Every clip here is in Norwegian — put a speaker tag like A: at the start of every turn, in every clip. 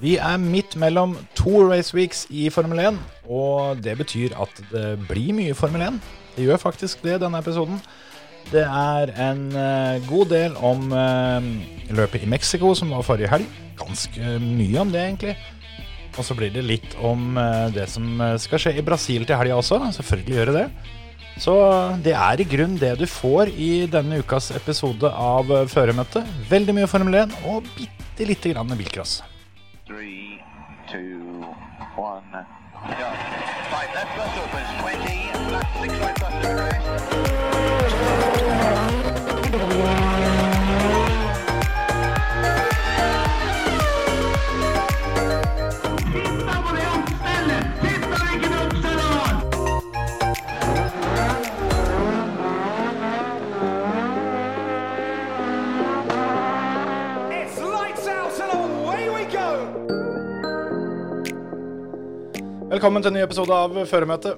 A: Vi er midt mellom to race weeks i Formel 1, og det betyr at det blir mye Formel 1. Det gjør faktisk det denne episoden. Det er en eh, god del om eh, løpet i Mexico som var forrige helg. Ganske eh, mye om det, egentlig. Og så blir det litt om eh, det som skal skje i Brasil til helga også. Selvfølgelig gjør det det. Så eh, det er i grunn det du får i denne ukas episode av eh, Føremøtet. Veldig mye Formel 1 og bitte lite grann bilcross.
B: Three, two, one, go. Right, left bus opens 20, left six right bus to the crest.
C: It's lights out and away we go!
A: Velkommen til en ny episode av Føremøte.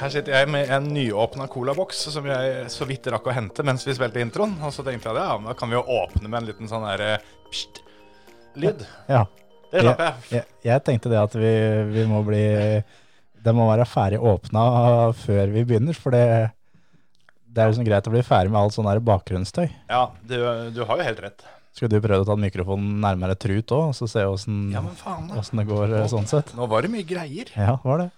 A: Her sitter jeg med en nyåpna colaboks som jeg så vidt rakk å hente mens vi spilte introen. Og så tenkte jeg at ja, men da kan vi jo åpne med en liten sånn derre pst-lyd.
D: Ja.
A: Det slapp
D: Jeg,
A: jeg.
D: jeg, jeg tenkte det at vi, vi må bli Det må være ferdig åpna før vi begynner, for det, det er jo sånn greit å bli ferdig med alt sånn der bakgrunnsstøy.
A: Ja, du, du har jo helt rett.
D: Skulle du prøvd å ta mikrofonen nærmere trut òg, og så se åssen
A: Ja, men faen, da.
D: åssen det går eh, sånn sett?
A: Nå var det mye greier.
D: Ja, var det.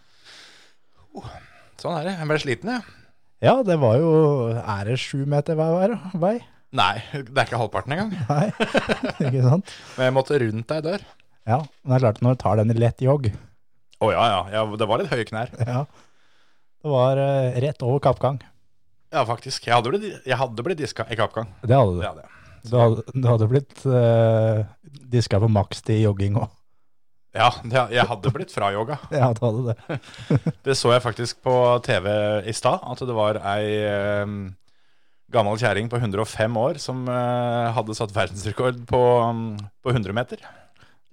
A: Sånn er det. Jeg ble sliten, jeg.
D: Ja, det var jo Er det sju meter hver vei? da? vei?
A: Nei, det er ikke halvparten engang.
D: Nei, ikke sant?
A: Men jeg måtte rundt ei dør.
D: Ja, men det er klart, når du tar den i lett jogg
A: Å ja, ja, ja. Det var litt høye knær.
D: Ja. Det var eh, rett over kappgang.
A: Ja, faktisk. Jeg hadde blitt, jeg hadde blitt diska i kappgang.
D: Det hadde du.
A: Det hadde jeg.
D: Du hadde, du hadde blitt uh, diska på makstid i jogging òg.
A: Ja, det- jeg hadde blitt frayoga.
D: Ja, du hadde det.
A: Det så jeg faktisk på TV i stad, at det var ei eh, gammel kjerring på 105 år som eh, hadde satt verdensrekord på, mm, på 100 meter.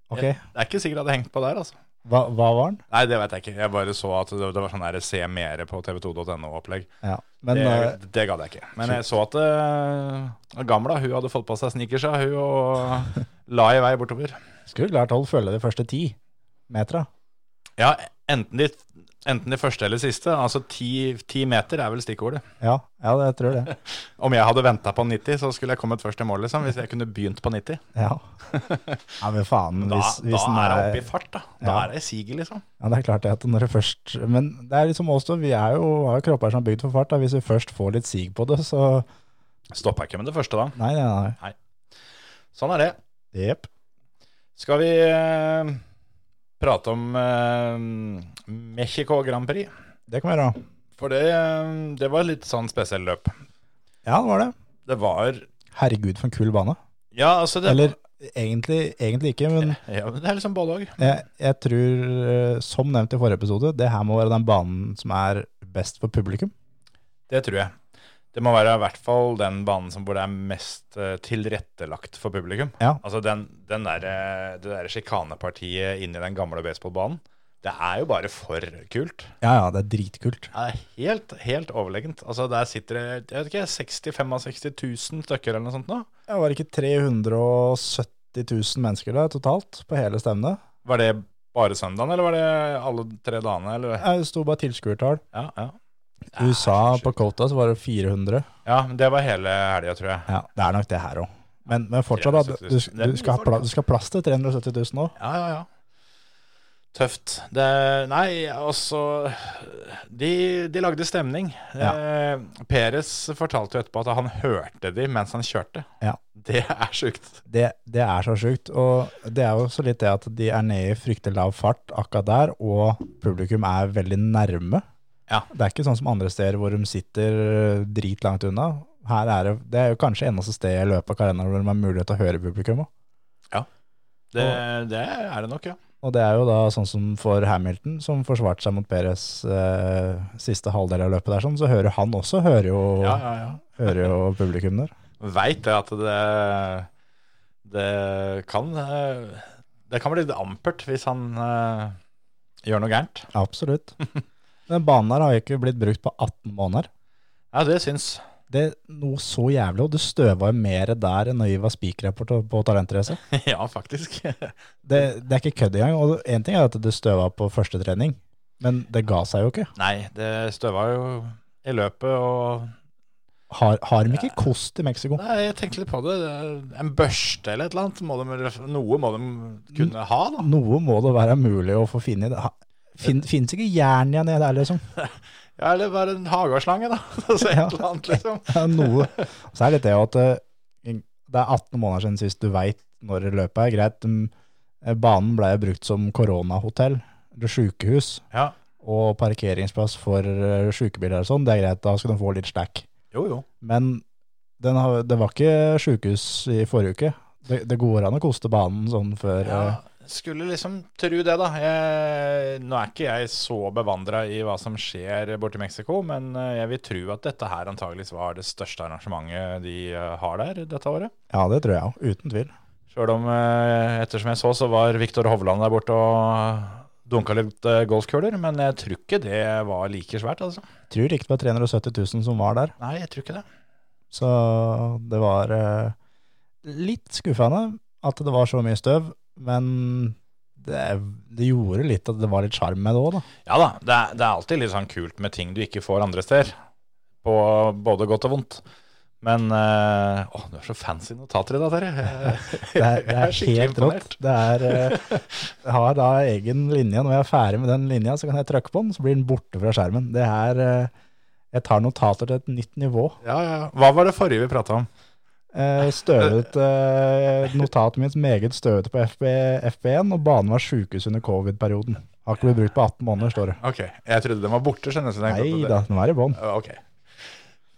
D: Ok,
A: Jeg, det er ikke sikkert jeg hadde hengt på der, altså.
D: Hva, hva var den?
A: Nei, det vet jeg ikke. Jeg bare så at det, det var sånn der se mere på tv2.no-opplegg.
D: Ja, men
A: Det,
D: eh,
A: det gadd jeg ikke. Men jeg så at eh, gamla, hun hadde fått på seg sneakersa, hun, og la i vei bortover.
D: skulle klart holdt følge de første ti metra.
A: Ja, enten de, enten de første eller siste. Altså ti, ti meter er vel stikkordet.
D: Ja, ja, det- jeg tror det.
A: Om jeg hadde venta på 90, så skulle jeg kommet først i mål, liksom. Hvis jeg kunne begynt på 90.
D: Ja, ja men faen.
A: Da,
D: Hvis,
A: da
D: hvis den
A: er jeg
D: er
A: oppe i fart, da. Da
D: Ja.
A: er jeg i siget, liksom.
D: Ja, det er klart det at når det først Men det er liksom oss, da. Vi er jo, har jo kropper som er bygd for fart. Da. Hvis vi først får litt sig på det, så
A: Stopper jeg ikke med det første, da.
D: Nei, nei, nei.
A: Sånn er det.
D: Jepp.
A: Skal vi eh, prate om eh, Mexico Grand Prix?
D: Det kan vi gjøre.
A: For det, eh, det var litt sånn spesiell løp.
D: Ja, det var det.
A: Det var
D: Herregud, for en kul bane.
A: Ja, altså det,
D: Eller egentlig, egentlig ikke, men
A: ja, men Det er liksom både òg.
D: Jeg, jeg tror, eh, som nevnt i forrige episode, det her må være den banen som er best for publikum.
A: Det tror jeg. Det må være i hvert fall den banen som hvor det er mest eh, tilrettelagt for publikum.
D: Ja.
A: Altså den, den der, eh, det der sjikanepartiet inni den gamle baseballbanen, det er jo bare for kult.
D: Ja, ja, det er dritkult.
A: Det er helt, helt overlegent. Altså der sitter det jeg vet ikke, 65 60 000 stykker eller noe sånt nå.
D: Det var ikke 370 000 mennesker der totalt på hele stevnet.
A: Var det bare søndagen, eller var det alle tre dagene? Eller?
D: Det sto bare tilskuertall.
A: Ja, ja.
D: Ah, USA,
A: så
D: på Kota, så var det 400.
A: ja, men det var hele helga, tror jeg.
D: Ja, det er nok det her òg. Men, men fortsatt, da. Du,
A: 370 000.
D: du, skal ha pla du skal ha plass til 370 000 òg.
A: Ja, ja, ja. Tøft. Det, nei, altså de, de lagde stemning. Eh, Peres fortalte jo etterpå at han hørte de mens han kjørte.
D: Ja.
A: Det er sjukt.
D: Det, det er så sjukt. Og det er jo så litt det at de er nede i fryktelig lav fart akkurat der, og publikum er veldig nærme.
A: Ja.
D: Det er ikke sånn som andre steder hvor de sitter eh, dritlangt unna. Her er det, det er jo kanskje eneste sted i løpet av kalenderen hvor de har mulighet til å høre publikum. også.
A: Det, det er det nok, ja.
D: Og det er jo da sånn som for Hamilton, som forsvarte seg mot Perez eh, siste halvdel av løpet der, sånn, så hører han også, hører jo,
A: ja, ja, ja.
D: hører jo publikum der.
A: Veit det at det Det kan eh, Det kan bli litt ampert hvis han eh, gjør noe gærent.
D: Absolutt. Den banen her har jo ikke blitt brukt på 18 måneder.
A: Ja, det syns.
D: det noe så jævlig, og du støva jo mer der enn når vi var speakere på, på talentrace.
A: ja, faktisk.
D: Det, det er ikke kødd engang. Og én ting er at du støva på første trening, men det ga seg jo ikke.
A: Nei, det støva jo i løpet, og
D: Har, har de ikke kost i Mexico?
A: Nei, jeg tenkte litt på det. Det er En børste eller et eller annet. Må de, noe må de kunne ha, da.
D: Noe må det være mulig å få finne i det. Ha- Fin, Fins ikke jern igjen i det her, liksom?
A: Ja, eller bare en hageslange, da. Så et
D: Ja.
A: eller annet, liksom.
D: Det er Noe. Så er det det at eh, det er 18 måneder siden sist du veit når løpet er. Greit, mm, eh, banen ble brukt som koronahotell eller sjukehus.
A: Ja.
D: og parkeringsplass for eh, sjukebiler og sånn, det er greit, da skal de få litt slack.
A: Jo, jo.
D: Men den har, det var ikke sjukehus i forrige uke. Det, det går an å koste banen sånn før
A: Ja,
D: eh,
A: skulle liksom tro det, da. Jeg, nå er ikke jeg så bevandra i hva som skjer borte i Mexico, men eh, jeg vil tro at dette her antageligvis var det største arrangementet de eh, har der dette året.
D: Ja, det tror jeg òg. Uten tvil.
A: Sjøl om, eh, ettersom jeg så, så var Viktor Hovland der borte og dunka litt eh, golfkuler, men jeg tror ikke det var like svært, altså.
D: Tror ikke det var 370 000 som var der,
A: Nei, jeg tror ikke det.
D: så det var eh, litt skuffende at det var så mye støv, men det, det gjorde litt at det var litt sjarm med det òg, da.
A: Ja da, det er, det er alltid litt sånn kult med ting du ikke får andre steder. På både godt og vondt. Men eh, Å, du er så fancy notater i dag, Terje.
D: Det er, det er helt rått. Det er, eh, jeg har da egen linje. Når jeg er ferdig med den linja, så kan jeg trykke på den, så blir den borte fra skjermen. Det er, eh, jeg tar notater til et nytt nivå.
A: Ja, ja. Hva var det forrige vi prata om?
D: Eh, Støvet, eh, notatet mitt meget støvete på FB, FB1, og banen var sjukehus under covid-perioden. Har ikke blitt brukt på 18 måneder, står det.
A: Ok, Jeg trodde den var borte. skjønner du. så jeg tenkte
D: Nei
A: at
D: da,
A: det-
D: den var i bånn.
A: Ja, Ok.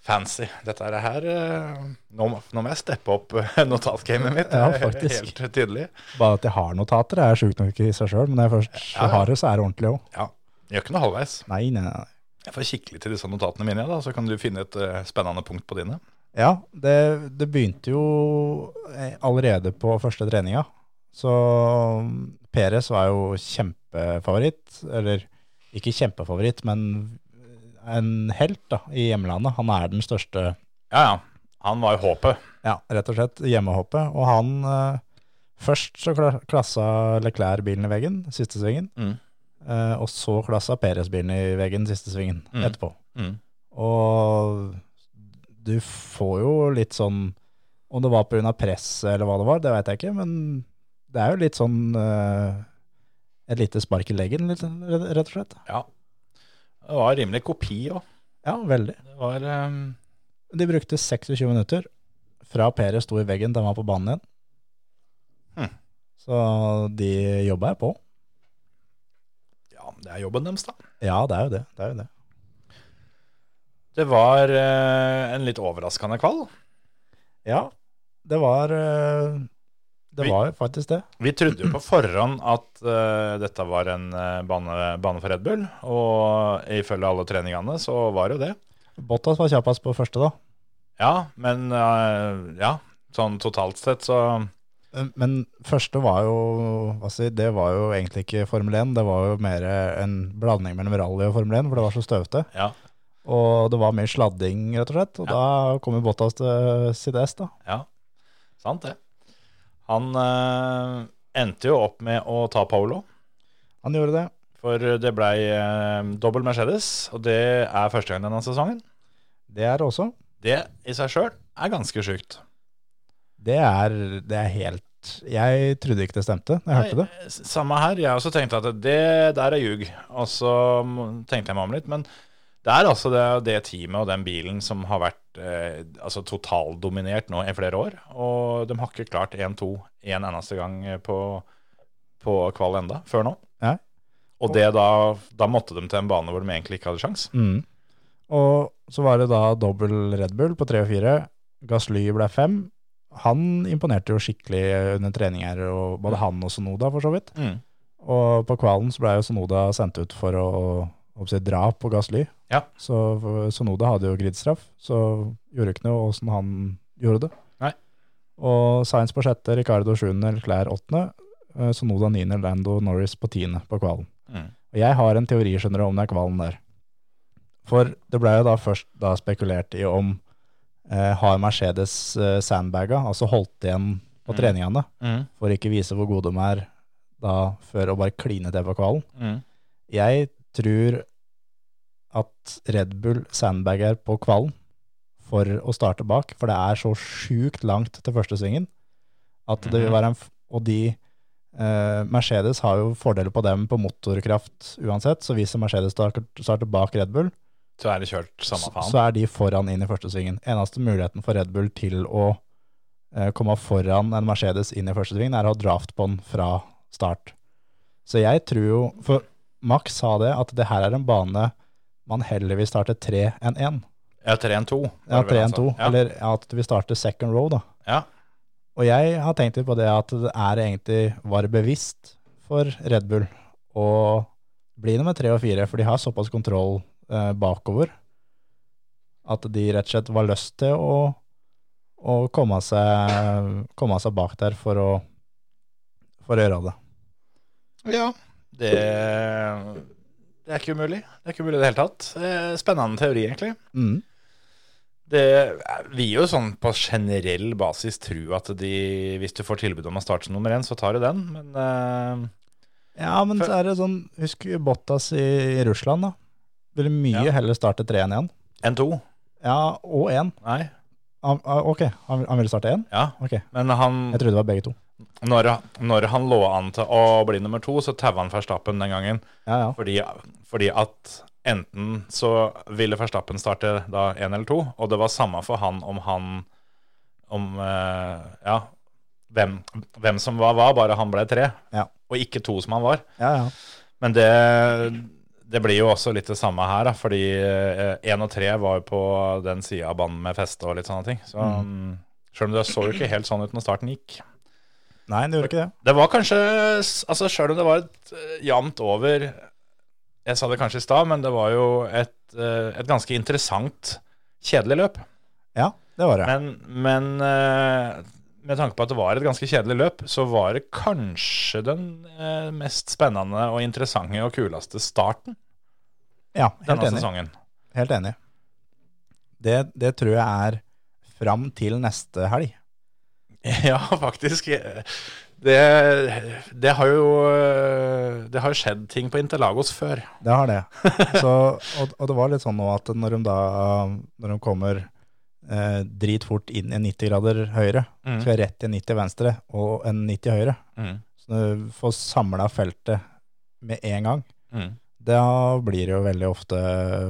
A: Fancy. Dette er det her eh, nå, må- nå må jeg steppe opp eh, notatgamet mitt.
D: Ja,
A: Det er
D: faktisk.
A: Helt tydelig.
D: Bare at jeg har notater, er sjukt nok i seg sjøl, men når jeg først
A: Ja, ja.
D: har det, så er det ordentlig òg.
A: Ja, Gjør ikke noe halvveis.
D: Nei, nei, nei.
A: Jeg får kikke litt i disse notatene mine, da, så kan du finne et eh, spennende punkt på dine.
D: Ja, det, det begynte jo eh, allerede på første treninga. Så mm, Perez var jo kjempefavoritt, eller ikke kjempefavoritt, men en helt da, i hjemlandet. Han er den største,
A: Ja, ja. Han var jo håpet.
D: ja, rett og slett, hjemmehoppet. Og han, eh, først så kla- klassa Leclerc bilen i veggen, siste svingen,
A: Mm.
D: eh, og så klassa Perez bilen i veggen, siste svingen,
A: Mm.
D: etterpå.
A: Mm.
D: Og du får jo litt sånn Om det var pga. press eller hva det var, det veit jeg ikke, men det er jo litt sånn eh, Et lite spark i leggen, litt, sånn, rett og slett.
A: Ja. Det var rimelig kopi òg.
D: Ja, veldig.
A: Det var ehm,
D: De brukte 26 minutter fra Perez sto i veggen til han var på banen igjen.
A: Hm.
D: Så de jobba jeg på.
A: Ja, det er jobben deres, da.
D: Ja, det er jo det. det, er jo det.
A: Det var eh, en litt overraskende kvall.
D: Ja, det var eh,
A: Vi-
D: Det var jo faktisk det.
A: Vi trodde jo på forhånd at eh, dette var en eh, bane, bane for Red Bull, og ifølge alle treningene så var det jo det.
D: Bottas var kjappest på første, da.
A: Ja, men eh, ja, sånn totalt sett så
D: Eh, Men første var jo hva skal jeg si, Det var jo egentlig ikke Formel 1, det var jo mer eh, en blanding mellom rally og Formel 1, for det var så støvete.
A: ja.
D: Og det var mer sladding, rett og slett. Og da kom jo Bottas til sitt ess, da.
A: Ja, sant det. Han eh, endte jo opp med å ta Polo,
D: Han gjorde det.
A: for det blei eh, dobbel Mercedes, og det er første gang denne sesongen.
D: Det er det også.
A: Det i seg sjøl er ganske sjukt.
D: Det er, det er helt Jeg trodde ikke det stemte da jeg hørte det.
A: Nei, s- Samme her. Jeg også tenkte at det der er ljug. Og så m- tenkte jeg meg om litt. Men det er altså det, det teamet og den bilen som har vært eh, altså totaldominert nå i flere år. Og de har ikke klart 1-2 en eneste gang på, på kval enda, før nå.
D: Nei.
A: Og det da, da måtte de til en bane hvor de egentlig ikke hadde sjans.
D: Mm. Og så var det da dobbel Red Bull på tre og fire. Gasly ble fem. Han imponerte jo skikkelig under trening her, og både han og Sonoda, for så vidt.
A: Mm,
D: Og på kvalen så ble jo Sonoda sendt ut for å, å si, dra på Gassly.
A: Ja.
D: Så Sonoda hadde jo gridstraff, så gjorde ikke noe åssen han gjorde det.
A: Nei.
D: Og Sainz på sjette, Ricardo sjuende, Leclerc åttende, eh, Sonoda niende, Lando Norris på tiende på kvalen.
A: Mm.
D: Og jeg har en teori, skjønner du, om den kvalen der. For det ble jo da først da spekulert i om eh, har Mercedes eh, sandbaga, altså holdt igjen på treningene,
A: Mm.
D: for ikke vise hvor gode de er da før å bare kline til på kvalen.
A: Mm.
D: Jeg tror at Red Bull sandbager på kvalen for å starte bak, for det er så sjukt langt til første svingen at det vil være en f Og de eh, Mercedes har jo fordeler på dem på motorkraft uansett, så hvis Mercedes starter, starter bak Red Bull,
A: Så er det kjørt samme
D: så,
A: faen.
D: så er de foran inn i første svingen. Eneste muligheten for Red Bull til å eh, komme foran en Mercedes inn i første svingen, er å ha draftbånd fra start. Så jeg tror jo For Max sa det, at det her er en bane man heller vil starte tre enn én.
A: Ja, 3-1-2.
D: Ja,
A: var det vel
D: tre
A: han
D: enn
A: sa.
D: to.
A: Ja.
D: Eller at vi starter second row, da.
A: Ja.
D: Og jeg har tenkt litt på det at det er egentlig var bevisst for Red Bull å bli nummer tre og fire, for de har såpass kontroll eh, bakover at de rett og slett var lyst til å, å komme, seg, komme seg bak der for å, for å gjøre det.
A: Ja, det, det er ikke umulig. Det er ikke umulig i det hele tatt. Eh, Spennende teori, egentlig.
D: Mm.
A: Det vil jo sånn på generell basis tro at de, hvis du får tilbud om å starte som nummer én, så tar du den, men eh,
D: Ja, men
A: For-
D: så er det sånn, husk Bottas i, i Russland, da. Ville mye
A: Ja.
D: heller starte tre enn én.
A: enn to?
D: Ja, og én.
A: Nei.
D: Han, ah, ok, han, han ville starte én?
A: Ja.
D: Ok, jeg
A: Men han,
D: trodde det var begge to.
A: når, når han lå an til å bli nummer to, så taua han Verstappen den gangen.
D: Ja, ja.
A: Fordi, fordi at enten så ville Verstappen starte da én eller to, og det var samme for han om han Om eh, Ja, hvem, hvem som var hva, bare han ble tre,
D: Ja.
A: og ikke to som han var.
D: ja, ja.
A: Men det, det blir jo også litt det samme her, da, fordi én og tre var jo på den sida av banen med feste og litt sånne ting. Så mm. sjøl om det så jo ikke helt sånn ut når starten gikk.
D: Nei, det gjorde ikke det.
A: Det var kanskje Altså Sjøl om det var et eh, jevnt over Jeg sa det kanskje i stad, men det var jo et, eh, et ganske interessant, kjedelig løp.
D: Ja, det var det.
A: Men, men eh, med tanke på at det var et ganske kjedelig løp, så var det kanskje den eh, mest spennende og interessante og kuleste starten
D: Ja, helt
A: denne
D: enig.
A: sesongen.
D: Helt enig. Det, det tror jeg er fram til neste helg.
A: Ja, faktisk. Det, det har jo eh, Det har jo skjedd ting på Interlagos før.
D: Det har det. Så, og, og det var litt sånn nå at når de da når de kommer eh, dritfort inn i 90 grader høyre,
A: Mm.
D: skal rett i 90 venstre og en 90 høyre,
A: Mm.
D: så du får samla feltet med en gang,
A: Mm.
D: da blir det jo veldig ofte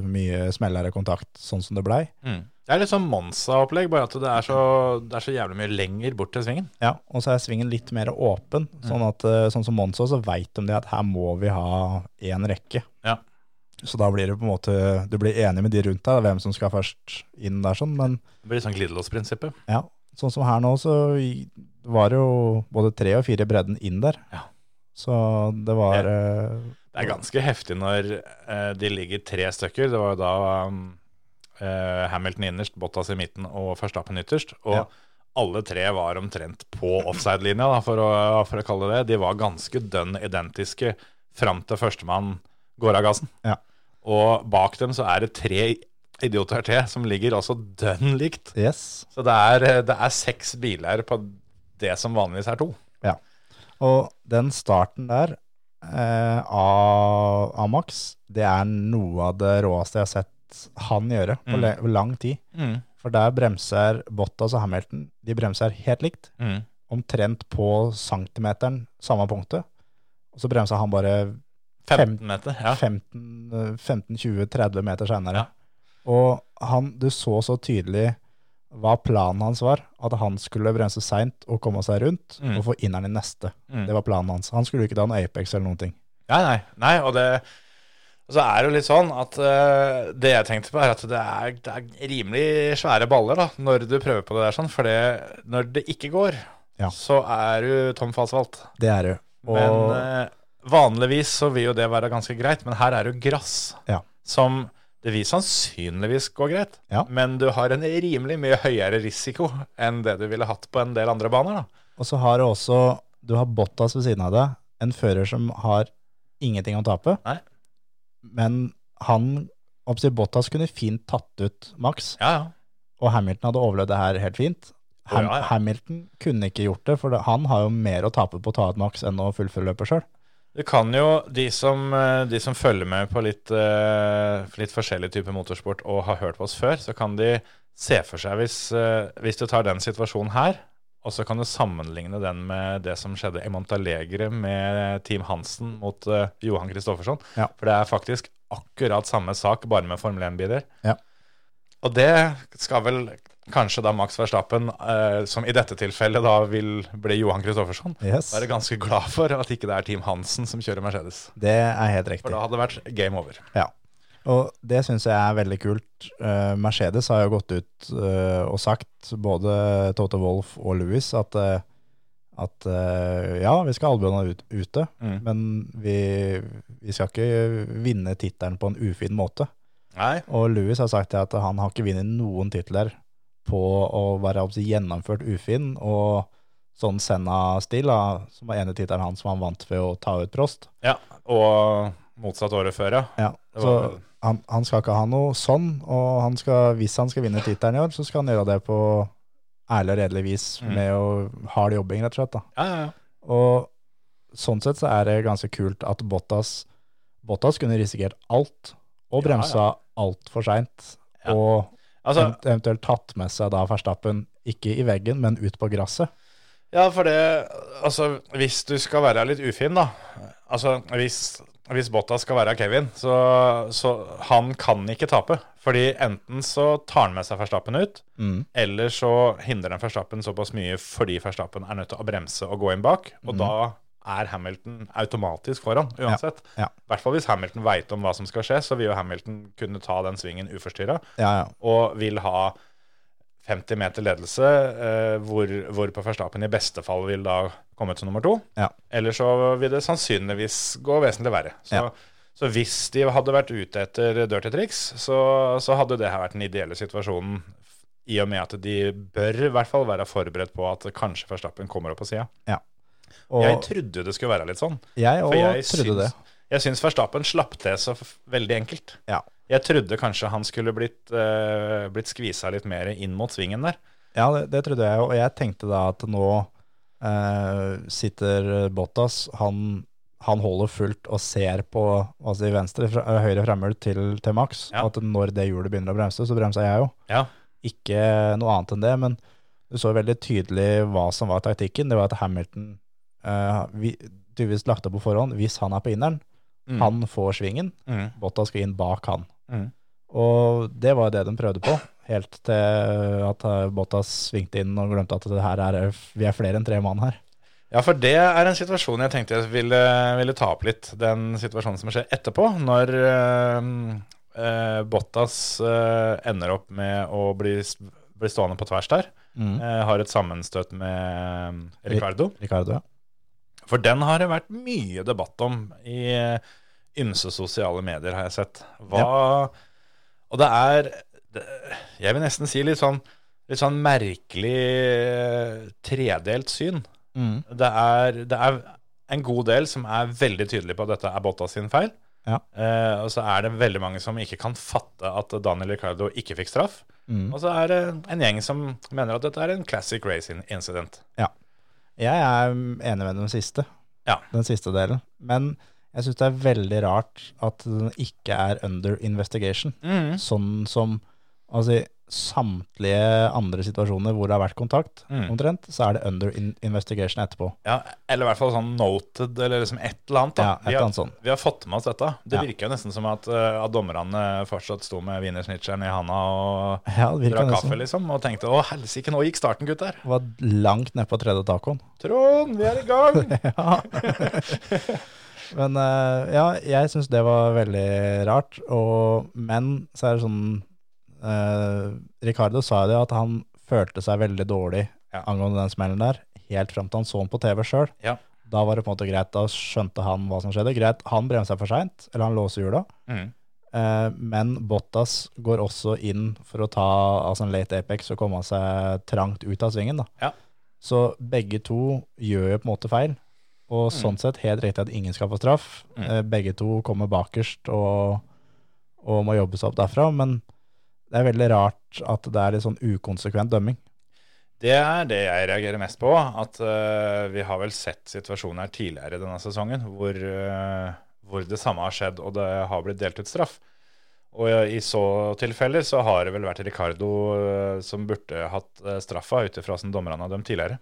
D: mye smellere kontakt, sånn som det blei.
A: Det er litt sånn Monsa-opplegg, bare at det er, så, det er så jævlig mye lenger bort til svingen.
D: Ja, og så er svingen litt mer åpen,
A: Mm.
D: sånn at eh, sånn som Monza, så vet de det at her må vi ha én rekke.
A: Ja.
D: Så da blir det på en måte, du blir enig med de rundt deg, hvem som skal først inn der sånn, men
A: Det blir litt sånn glidelåsprinsippet.
D: ja, sånn som her nå så i- var det jo både tre og fire i bredden inn der.
A: Ja.
D: Så det var, eh,
A: Det er ganske heftig når eh, de ligger tre stykker. Det var jo da um, eh, Hamilton innerst, Bottas i midten og Verstappen ytterst. Og
D: Ja.
A: alle tre var omtrent på offside-linja, da, for, å- for å kalle det det. De var ganske dønn identiske fram til førstemann går av gassen.
D: Ja.
A: Og bak dem så er det tre idioter til som ligger også dønn likt.
D: yes.
A: Så det er, eh, det er seks biler på det som vanligvis er to.
D: Og den starten der eh, av, av Max, det er noe av det råeste jeg har sett han gjøre på
A: Mm.
D: le- lang tid. For der bremser Bottas og Hamilton De bremser helt likt,
A: mm.
D: omtrent på centimeteren, samme punktet. Og så bremser han bare
A: 15 meter, ja.
D: 15-20-30 meter
A: Ja.
D: seinere. Og han, du så så tydelig hva planen hans var. At han skulle bremse seint og komme seg rundt
A: Mm.
D: og få inneren i neste.
A: Mm.
D: Det var planen hans. Han skulle ikke ta en Apex eller noen ting.
A: Nei, nei. nei og det, og så er det jo litt sånn at eh, det jeg tenkte på, er at det er, det er rimelig svære baller da, når du prøver på det der sånn. For det, når det ikke går,
D: Ja.
A: så er du tom for asfalt.
D: Det er det jo. Og
A: Men eh, vanligvis så vil jo det være ganske greit, men her er det jo grass.
D: Ja.
A: Som det vil sannsynligvis gå greit,
D: Ja.
A: men du har en rimelig mye høyere risiko enn det du ville hatt på en del andre baner. da.
D: Og så har du også Du har Bottas ved siden av deg. En fører som har ingenting å tape.
A: Nei.
D: Men han oppsi, Bottas kunne fint tatt ut Max.
A: Ja, ja.
D: Og Hamilton hadde overlevd det her helt fint. Ham,
A: ja, ja.
D: Hamilton kunne ikke gjort det, for det, han har jo mer å tape på å ta ut maks enn å fullføre løpet sjøl.
A: Du kan jo, de som, eh, de som følger med på litt, eh, litt forskjellig type motorsport og har hørt på oss før, så kan de se for seg hvis, eh, hvis du tar den situasjonen her, og så kan du sammenligne den med det som skjedde i Montalegre med Team Hansen mot eh, Johan Kristoffersson.
D: Ja.
A: For det er faktisk akkurat samme sak, bare med Formel 1-biler.
D: Ja.
A: Og det skal vel kanskje da Max Verstappen, eh, som i dette tilfellet da vil bli Johan Kristoffersson,
D: Yes.
A: da er jeg ganske glad for at ikke det er Team Hansen som kjører Mercedes.
D: Det er helt
A: For
D: riktig.
A: da hadde det vært game over.
D: Ja. Og det syns jeg er veldig kult. Eh, Mercedes har jo gått ut eh, og sagt, både Toto Wolff og Louis, at, eh, at eh, ja, vi skal ha Albion ut, ute,
A: Mm.
D: men vi, vi skal ikke vinne tittelen på en ufin måte.
A: Nei.
D: Og Louis har sagt det at han har ikke vunnet noen titler på å være altså, gjennomført ufin, og sånn Senna-stil, da, som var ene tittelen hans som han vant ved å ta ut Prost.
A: Ja. Og motsatt året før, ja.
D: Ja,
A: Det
D: så
A: var vel-
D: han, han skal ikke ha noe sånn, og han skal, hvis han skal vinne tittelen i år, så skal han gjøre det på ærlig og redelig vis
A: Mm.
D: med å hard jobbing, rett og slett. Da.
A: Ja, ja, ja.
D: Og sånn sett så er det ganske kult at Bottas, Bottas kunne risikert alt,
A: Ja,
D: og
A: ja.
D: bremsa alt for sent,
A: Ja.
D: og
A: Altså,
D: event- eventuelt tatt med seg da Verstappen, ikke i veggen, men ut på gresset.
A: ja, for det Altså, hvis du skal være litt ufin, da. Altså, hvis, hvis Bottas skal være Kevin, så, så han kan ikke tape. Fordi enten så tar han med seg Verstappen ut, eller så hindrer han Verstappen såpass mye fordi Verstappen er nødt til å bremse og gå inn bak. Og da er Hamilton automatisk foran, uansett.
D: Mhm. Ja, ja.
A: I hvert fall hvis Hamilton veit om hva som skal skje, så vil jo Hamilton kunne ta den svingen uforstyrra,
D: Ja, ja.
A: og vil ha 50 meter ledelse, eh, hvor, hvor på Verstappen i beste fall vil da komme til nummer to.
D: Ja.
A: Eller så vil det sannsynligvis gå vesentlig verre. Så,
D: Ja.
A: så hvis de hadde vært ute etter dirty triks, så, så hadde det her vært den ideelle situasjonen. I og med at de bør i hvert fall være forberedt på at kanskje Verstappen kommer opp på sida.
D: Og
A: Jeg trodde jo det skulle være litt sånn.
D: jeg
A: For
D: òg
A: jeg
D: trodde det.
A: syns, jeg syns Verstappen slapp til så f- veldig enkelt.
D: Ja.
A: Jeg trodde kanskje han skulle blitt, eh, blitt skvisa litt mer inn mot svingen der.
D: Ja, det, det trodde jeg, og jeg tenkte da at nå eh, sitter Bottas, han, han holder fullt og ser på altså i venstre, fra, eh, høyre fremhjul til, til Max,
A: Ja.
D: at når det hjulet begynner å bremse, så bremser jeg jo.
A: Ja.
D: Ikke noe annet enn det, men du så veldig tydelig hva som var taktikken. Det var at Hamilton eh, vi, tydeligvis lagt opp på forhånd, hvis han er på inneren,
A: Mm.
D: han får svingen,
A: Mm.
D: Bottas skal inn bak han.
A: Mm.
D: Og det var det de prøvde på, helt til at eh, Bottas svingte inn og glemte at det her er, vi er flere enn tre mann her.
A: Ja, for det er en situasjon jeg tenkte jeg ville, ville ta opp litt. Den situasjonen som skjer etterpå, når eh, eh, Bottas eh, ender opp med å bli, bli stående på tvers der.
D: Mm.
A: Eh, har et sammenstøt med eh, Ricardo.
D: Eh, Ricardo, ja.
A: For den har det vært mye debatt om i eh, ymse sosiale medier, har jeg sett. Hva Og det er det- Jeg vil nesten si litt sånn, litt sånn merkelig eh, tredelt syn.
D: Mm.
A: Det er, det er en god del som er veldig tydelig på at dette er Bottas sin feil.
D: Ja.
A: Eh, og så er det veldig mange som ikke kan fatte at Daniel Ricardo ikke fikk straff.
D: Mm.
A: Og så er det en gjeng som mener at dette er en classic race in- incident.
D: Jeg er enig med den siste,
A: Ja.
D: den siste delen. Men jeg syns det er veldig rart at den ikke er under investigation. Sånn som altså, i samtlige andre situasjoner hvor det har vært kontakt,
A: Mm.
D: omtrent, så er det under in investigation etterpå.
A: Ja, eller i hvert fall sånn noted, eller liksom et eller annet. Da.
D: Ja, et
A: Vi
D: eller
A: har-
D: annet sånn.
A: Vi har fått med oss dette. Det
D: Ja.
A: virker jo nesten som at, eh, at dommerne fortsatt sto med wienersnitcheren i handa og
D: Ja, det virker
A: drakk kaffe,
D: nesten.
A: liksom, og tenkte å helsike, nå gikk starten, gutter.
D: Var langt ned på tredje tacoen.
A: Trond, vi er i gang!
D: Ja. men eh, ja, jeg syns det var veldig rart. Og, men så er det sånn eh, Ricardo sa jo det, at han følte seg veldig dårlig
A: Ja.
D: angående den smellen der, helt fram til han så den på TV sjøl.
A: Ja.
D: Da var det på en måte greit, da skjønte han hva som skjedde. Greit, han bremsa for seint, eller han låser hjula.
A: Mm.
D: Eh, men Bottas går også inn for å ta altså en late apex og komme seg trangt ut av svingen. Da.
A: Ja.
D: Så begge to gjør jo på en måte feil. Og sånn sett helt riktig at ingen skal få straff.
A: Mm.
D: Eh, begge to kommer bakerst og, og må jobbe seg opp derfra. Men Det er veldig rart at det er litt sånn ukonsekvent dømming.
A: Det er det jeg reagerer mest på. At eh, vi har vel sett situasjoner her tidligere denne sesongen hvor, eh, hvor det samme har skjedd, og det har blitt delt ut straff. Og i så tilfeller så har det vel vært Ricardo eh, som burde hatt eh, straffa ut ifra som dommerne har dømt tidligere.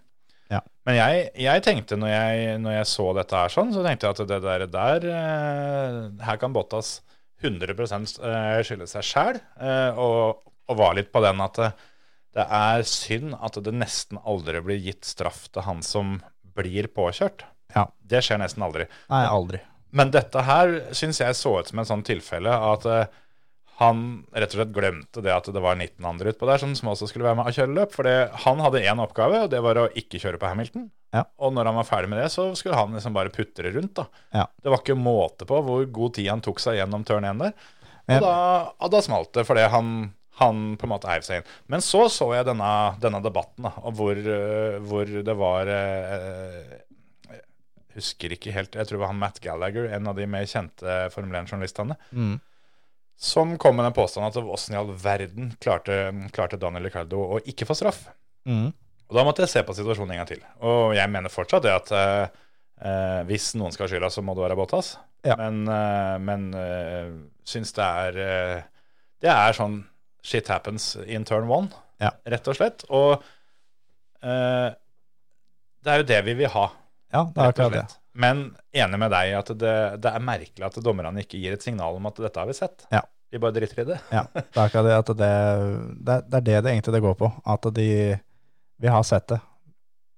D: Ja.
A: Men jeg, jeg tenkte når jeg, når jeg så dette her sånn, så tenkte jeg at det der, der eh, Her kan Bottas 100 eh, skylde seg sjæl, og, og var litt på den at eh, det er synd at det nesten aldri blir gitt straff til han som blir påkjørt.
D: Ja.
A: Det skjer nesten aldri.
D: Nei, aldri.
A: Men dette her syns jeg så ut som en sånn tilfelle at eh, han rett og slett glemte det at det var 19 andre utpå der som, som også skulle være med og kjøre løp. For han hadde én oppgave, og det var å ikke kjøre på Hamilton.
D: Ja.
A: Og når han var ferdig med det, så skulle han liksom bare putre rundt, da.
D: Ja.
A: Det var ikke måte på hvor god tid han tok seg gjennom turn 1 der. Og,
D: Ja.
A: da, og da smalt det, fordi han, han på en måte heiv seg inn. Men så så jeg denne, denne debatten, da, og hvor, øh, hvor det var øh, Jeg husker ikke helt Jeg tror det var han Matt Gallagher, en av de mer kjente Formel 1-journalistene,
D: Mm.
A: som kom med den påstanden at åssen i all verden klarte, klarte Daniel Ricardo å ikke få straff?
D: Mm.
A: Og da måtte jeg se på situasjonen en gang til. Og jeg mener fortsatt det at eh, eh, hvis noen skal ha skylda, så må det være Bottas.
D: Ja.
A: Men, eh, men eh, syns det er eh, Det er sånn shit happens in turn one,
D: Ja.
A: rett og slett. Og eh, det er jo det vi vil ha,
D: Ja, det er
A: rett og
D: akkurat det.
A: slett. Men enig med deg at det, det er merkelig at dommerne ikke gir et signal om at dette har vi sett.
D: Ja.
A: Vi bare driter i det.
D: Ja, det er akkurat det at det, det, er- det er det det egentlig det går på. At de Vi har sett det.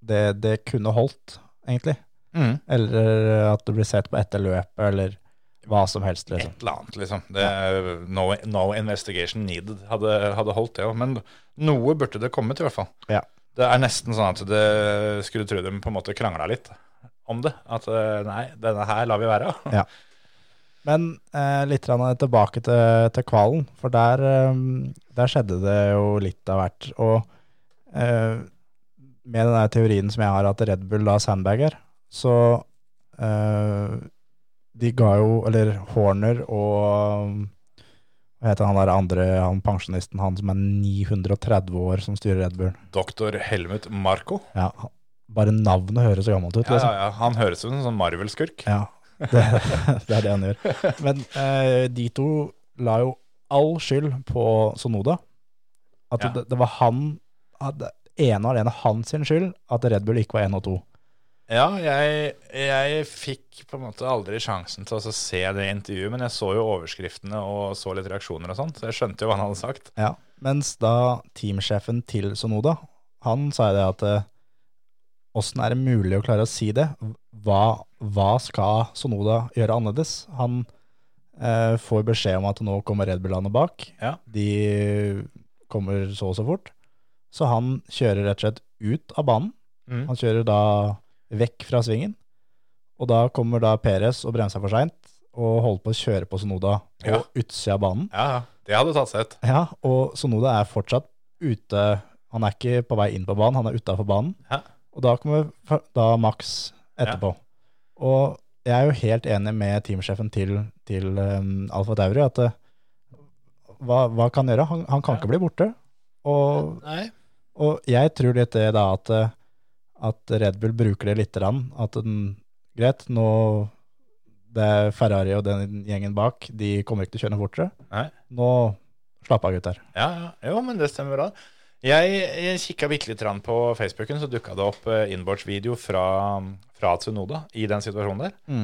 D: Det, det kunne holdt, egentlig. Mm. Eller at det blir sett på etter løpet, eller hva som helst, liksom.
A: Et eller annet, liksom. Det, no, no investigation needed hadde, hadde holdt det òg. Men noe burde det kommet, i hvert fall.
D: Ja.
A: Det er nesten sånn at det skulle tro de på en måte krangla litt om det. At eh, nei, denne her lar vi være.
D: Men eh, litt grann tilbake til, til kvalen, for der, eh, der skjedde det jo litt av hvert. Og eh, med den der teorien som jeg har at Red Bull da sandbager, så eh, de ga jo, eller Horner og hva heter han der andre, han pensjonisten, han som er 930 år som styrer Red Bull.
A: Doktor Helmut Marco.
D: Ja, han- bare navnet høres så gammelt ut,
A: Ja,
D: liksom.
A: ja, ja. Han høres ut som en sånn Marvel-skurk.
D: Ja, det, det er det han gjør. Men eh, de to la jo all skyld på Sonoda. At
A: Ja.
D: det, det var han at det ene og alene hans sin skyld at Red Bull ikke var 1 og 2.
A: Ja, jeg, jeg fikk på en måte aldri sjansen til å så se det intervjuet, men jeg så jo overskriftene og så litt reaksjoner og sånt, så jeg skjønte jo hva han hadde sagt.
D: Ja. Mens da teamsjefen til Sonoda, han sa jo det at eh, Åssen er det mulig å klare å si det? Hva, hva skal Sonoda gjøre annerledes? Han eh, får beskjed om at nå kommer Red Bull-landet bak.
A: Ja.
D: De kommer så og så fort. Så han kjører rett og slett ut av banen.
A: Mm.
D: Han kjører da vekk fra svingen. Og da kommer da Perez og bremser for seint og holder på å kjøre på Sonoda på
A: Ja.
D: utsida av banen.
A: Ja, ja. Det hadde tatt seg ut.
D: Ja, og Sonoda er fortsatt ute. Han er ikke på vei inn på banen, han er utafor banen.
A: Ja.
D: Og da kommer f- da Max etterpå. Og jeg er jo helt enig med teamsjefen til, til um, Alfa Tauri at eh, hva, hva kan han gjøre? Han, han kan
A: Ja.
D: ikke bli borte. Og
A: Nei.
D: og jeg tror litt det da at, uh, at Red Bull bruker det litt, at den, greit, nå det er Ferrari og den gjengen bak, de kommer ikke til å kjøre noe fortere.
A: Nei.
D: Nå slapp av, gutter.
A: Ja, ja. Jo, men det stemmer bra. Jeg, jeg kikka bitte litt grann på Facebooken, så dukka det opp eh, innbordsvideo fra, fra Tsunoda i den situasjonen der.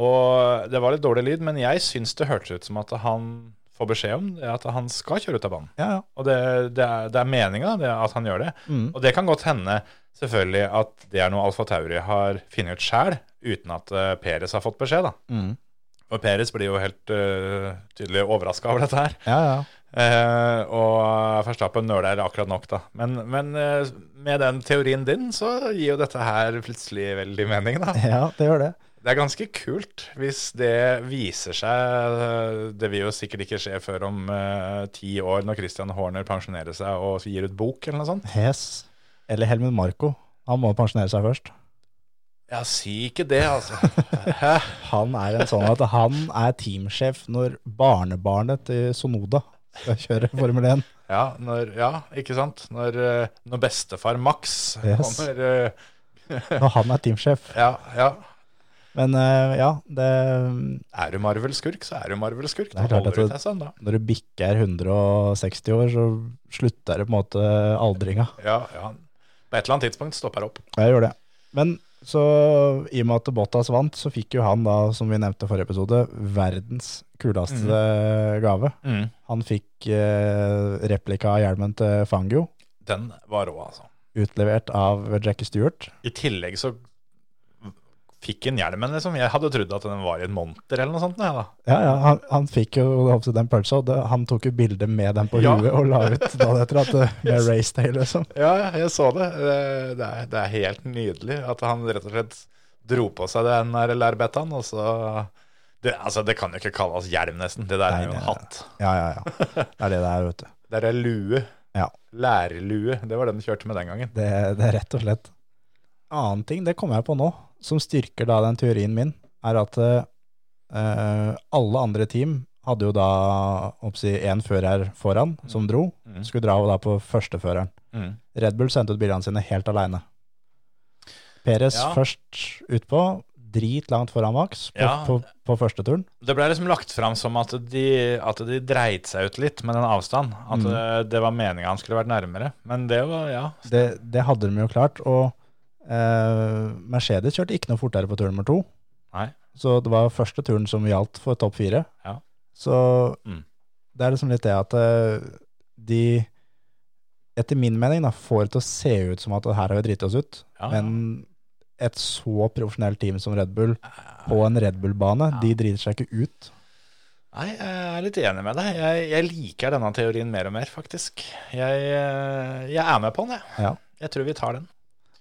A: Og det var litt dårlig lyd, men jeg syns det hørtes ut som at han får beskjed om det, at han skal kjøre ut av banen.
D: Ja, ja.
A: Og det, det er, det er meninga at han gjør det. Mm. Og det kan godt hende selvfølgelig at det er noe Alfa Tauri har funnet ut sjæl, uten at eh, Peres har fått beskjed. da. Og Peres blir jo helt eh, tydelig overraska over dette her.
D: Ja, ja.
A: Eh, og Verstappen nøler akkurat nok, da. Men, men eh, med den teorien din, så gir jo dette her plutselig veldig mening, da.
D: ja, det gjør det.
A: Det er ganske kult hvis det viser seg eh, Det vil jo sikkert ikke skje før om eh, ti år, når Christian Horner pensjonerer seg og gir ut bok eller noe sånt.
D: Hes eller Helmut Marko. Han må pensjonere seg først.
A: Ja, si ikke det, altså. Hæ?
D: Han er en sånn at han er teamsjef når barnebarnet til Sonoda skal kjøre Formel 1.
A: Ja, når, ja ikke sant? Når, eh, når bestefar Max
D: Yes.
A: kommer eh,
D: Når han er teamsjef.
A: Ja, ja.
D: Men eh, ja, det,
A: Er du Marvel-skurk, så er du Marvel-skurk.
D: Det
A: Da
D: er klart
A: holder du
D: at
A: deg sånn, da.
D: når du bikker 160 år, så slutter det på en måte aldringa.
A: Ja, ja. På et eller annet tidspunkt stopper det opp.
D: Jeg gjør det. Men så i og med at Bottas vant, så fikk jo han da, som vi nevnte i forrige episode, verdens kuleste gave. Han fikk eh, replika av hjelmen til Fangio,
A: Den var rå, altså.
D: utlevert av Jackie Stewart.
A: I tillegg så fikk han hjelmen, liksom. Jeg hadde trodd at den var i en monter eller noe sånt. jeg, da.
D: Ja, ja, han, han fikk jo opp til den pølsa, og det, han tok jo bilde med den på
A: Ja.
D: huet og la ut dagen etter at det med race day, liksom.
A: Ja, jeg så det. Eh, Det er, det er helt nydelig at han rett og slett dro på seg den der lærbettaen, og så det, altså, det kan jo ikke kalles hjelm, nesten. Det der
D: Nei,
A: er jo
D: det-
A: en hatt.
D: Ja, ja, ja. Det er det det er, vet du.
A: Det er ei lue.
D: Ja.
A: Lærlue. Det var det den kjørte med den gangen.
D: Det, det er rett og slett. Annen ting, det kommer jeg på nå, som styrker da den teorien min, er at eh, alle andre team hadde jo da oppsi, en fører foran som dro,
A: Mm.
D: skulle dra jo da på førsteføreren.
A: Mm.
D: Red Bull sendte ut bilene sine helt alene. Peres
A: Ja.
D: først utpå, dritlangt foran Max på,
A: Ja.
D: på, på første turen.
A: Det ble liksom lagt fram som at de, at de dreit seg ut litt med den avstanden. At
D: Mm.
A: eh, det var meninga han skulle vært nærmere. Men det var, ja.
D: Det, det hadde de jo klart, og eh, Mercedes kjørte ikke noe fortere på tur nummer to.
A: Nei.
D: Så det var første turen som gjaldt for topp fire.
A: Ja.
D: Så
A: Mm.
D: det er liksom litt det at eh, de, etter min mening, da, får det til å se ut som at her har vi driti oss ut.
A: ja.
D: Men et så profesjonelt team som Red Bull på en Red Bull-bane, de driter seg ikke ut.
A: Nei, jeg er litt enig med deg. Jeg, jeg liker denne teorien mer og mer, faktisk. Jeg, eh, jeg er med på den, jeg.
D: Ja.
A: Jeg tror vi tar den.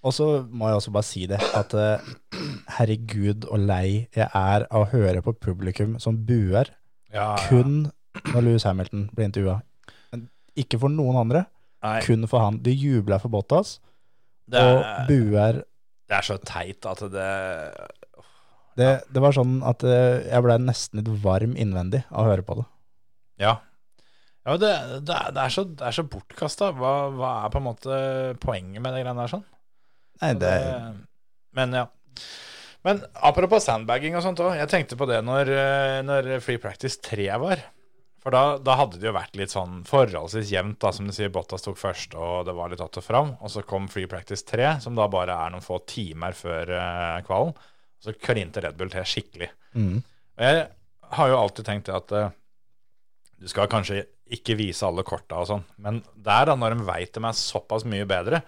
D: Og så må jeg også bare si det, at eh, herregud og lei jeg er av å høre på publikum som buer kun når Lewis Hamilton blir intervjua. Men Ikke for noen andre,
A: Nei,
D: kun for han. De jubler for Bottas
A: det,
D: og
A: er,
D: buer.
A: det er så teit at det
D: Det, det var sånn at eh, jeg ble nesten litt varm innvendig av å høre på det.
A: Ja. ja det, det, er, det er så, det er så bortkasta. Hva, hva er på en måte poenget med det greiene der sånn?
D: Nei, det,
A: Men ja. Men apropos sandbagging og sånt òg. Jeg tenkte på det når, eh, når Free Practice 3 var. For da, da hadde det jo vært litt sånn forholdsvis jevnt, da, som du sier. Bottas tok først, og det var litt att og fram. Og så kom Free Practice 3, som da bare er noen få timer før eh, kvalen. Så klinte Red Bull til skikkelig.
D: mm,
A: Og jeg har jo alltid tenkt det at eh, du skal kanskje ikke vise alle korta og sånn, men der da, når de veit de er såpass mye bedre,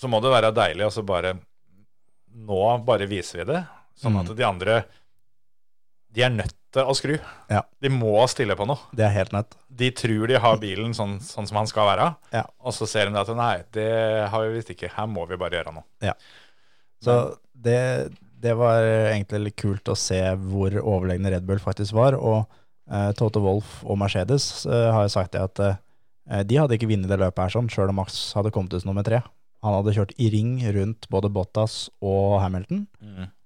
A: så må det være deilig og så bare Nå bare viser vi det, sånn
D: Mm.
A: at de andre De er nødt til å skru.
D: Ja.
A: De må stille på noe.
D: det er helt nett.
A: De tror de har bilen sånn, sånn som han skal være,
D: Ja.
A: og så ser de det at nei, det har vi visst ikke. Her må vi bare gjøre noe.
D: Så det, det var egentlig litt kult å se hvor overlegne Red Bull faktisk var. Og eh, Toto Wolff og Mercedes eh, har jo sagt det at eh, de hadde ikke vunnet det løpet her sånn, sjøl om Max hadde kommet ut som nummer tre. Han hadde kjørt i ring rundt både Bottas og Hamilton,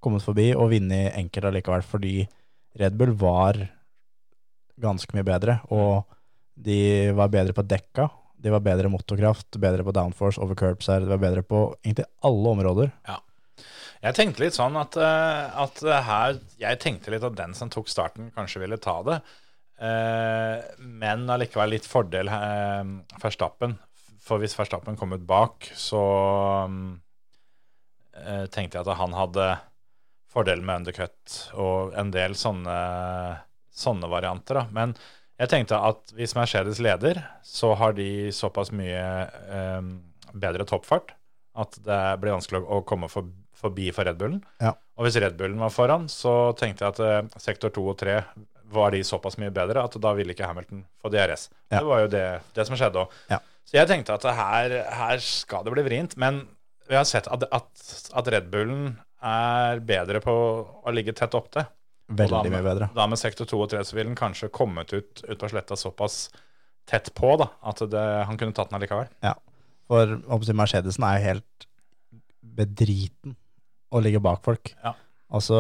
D: kommet forbi og vunnet enkelt allikevel, fordi Red Bull var ganske mye bedre. Og de var bedre på dekka, de var bedre motorkraft, bedre på downforce, over curbside, de var bedre på egentlig alle områder.
A: Jeg tenkte litt sånn at, eh, at her Jeg tenkte litt at den som tok starten, kanskje ville ta det. Eh, Men allikevel litt fordel eh, Verstappen. For hvis Verstappen kom ut bak, så mm, eh, tenkte jeg at han hadde fordelen med undercut og en del sånne, sånne varianter. Da. Men jeg tenkte at hvis Mercedes leder, så har de såpass mye eh, bedre toppfart at det blir vanskelig å å komme for, forbi for Red Bullen.
D: Ja.
A: Og hvis Red Bullen var foran, så tenkte jeg at eh, sektor 2 og 3 var de såpass mye bedre at da ville ikke Hamilton få DRS.
D: Ja.
A: Det var jo det, det som skjedde òg.
D: Ja.
A: Så jeg tenkte at det her, her skal det bli vrient. Men vi har sett at, at, at Red Bullen er bedre på å ligge tett opptil. Og da
D: Veldig
A: med-
D: mye bedre.
A: Da med sektor 2 og 3 så ville han kanskje kommet ut, ut på sletta såpass tett på da, at det, han kunne tatt den allikevel.
D: Ja. For oppsett, Mercedesen er jo helt bedriten å ligge bak folk.
A: Ja.
D: Altså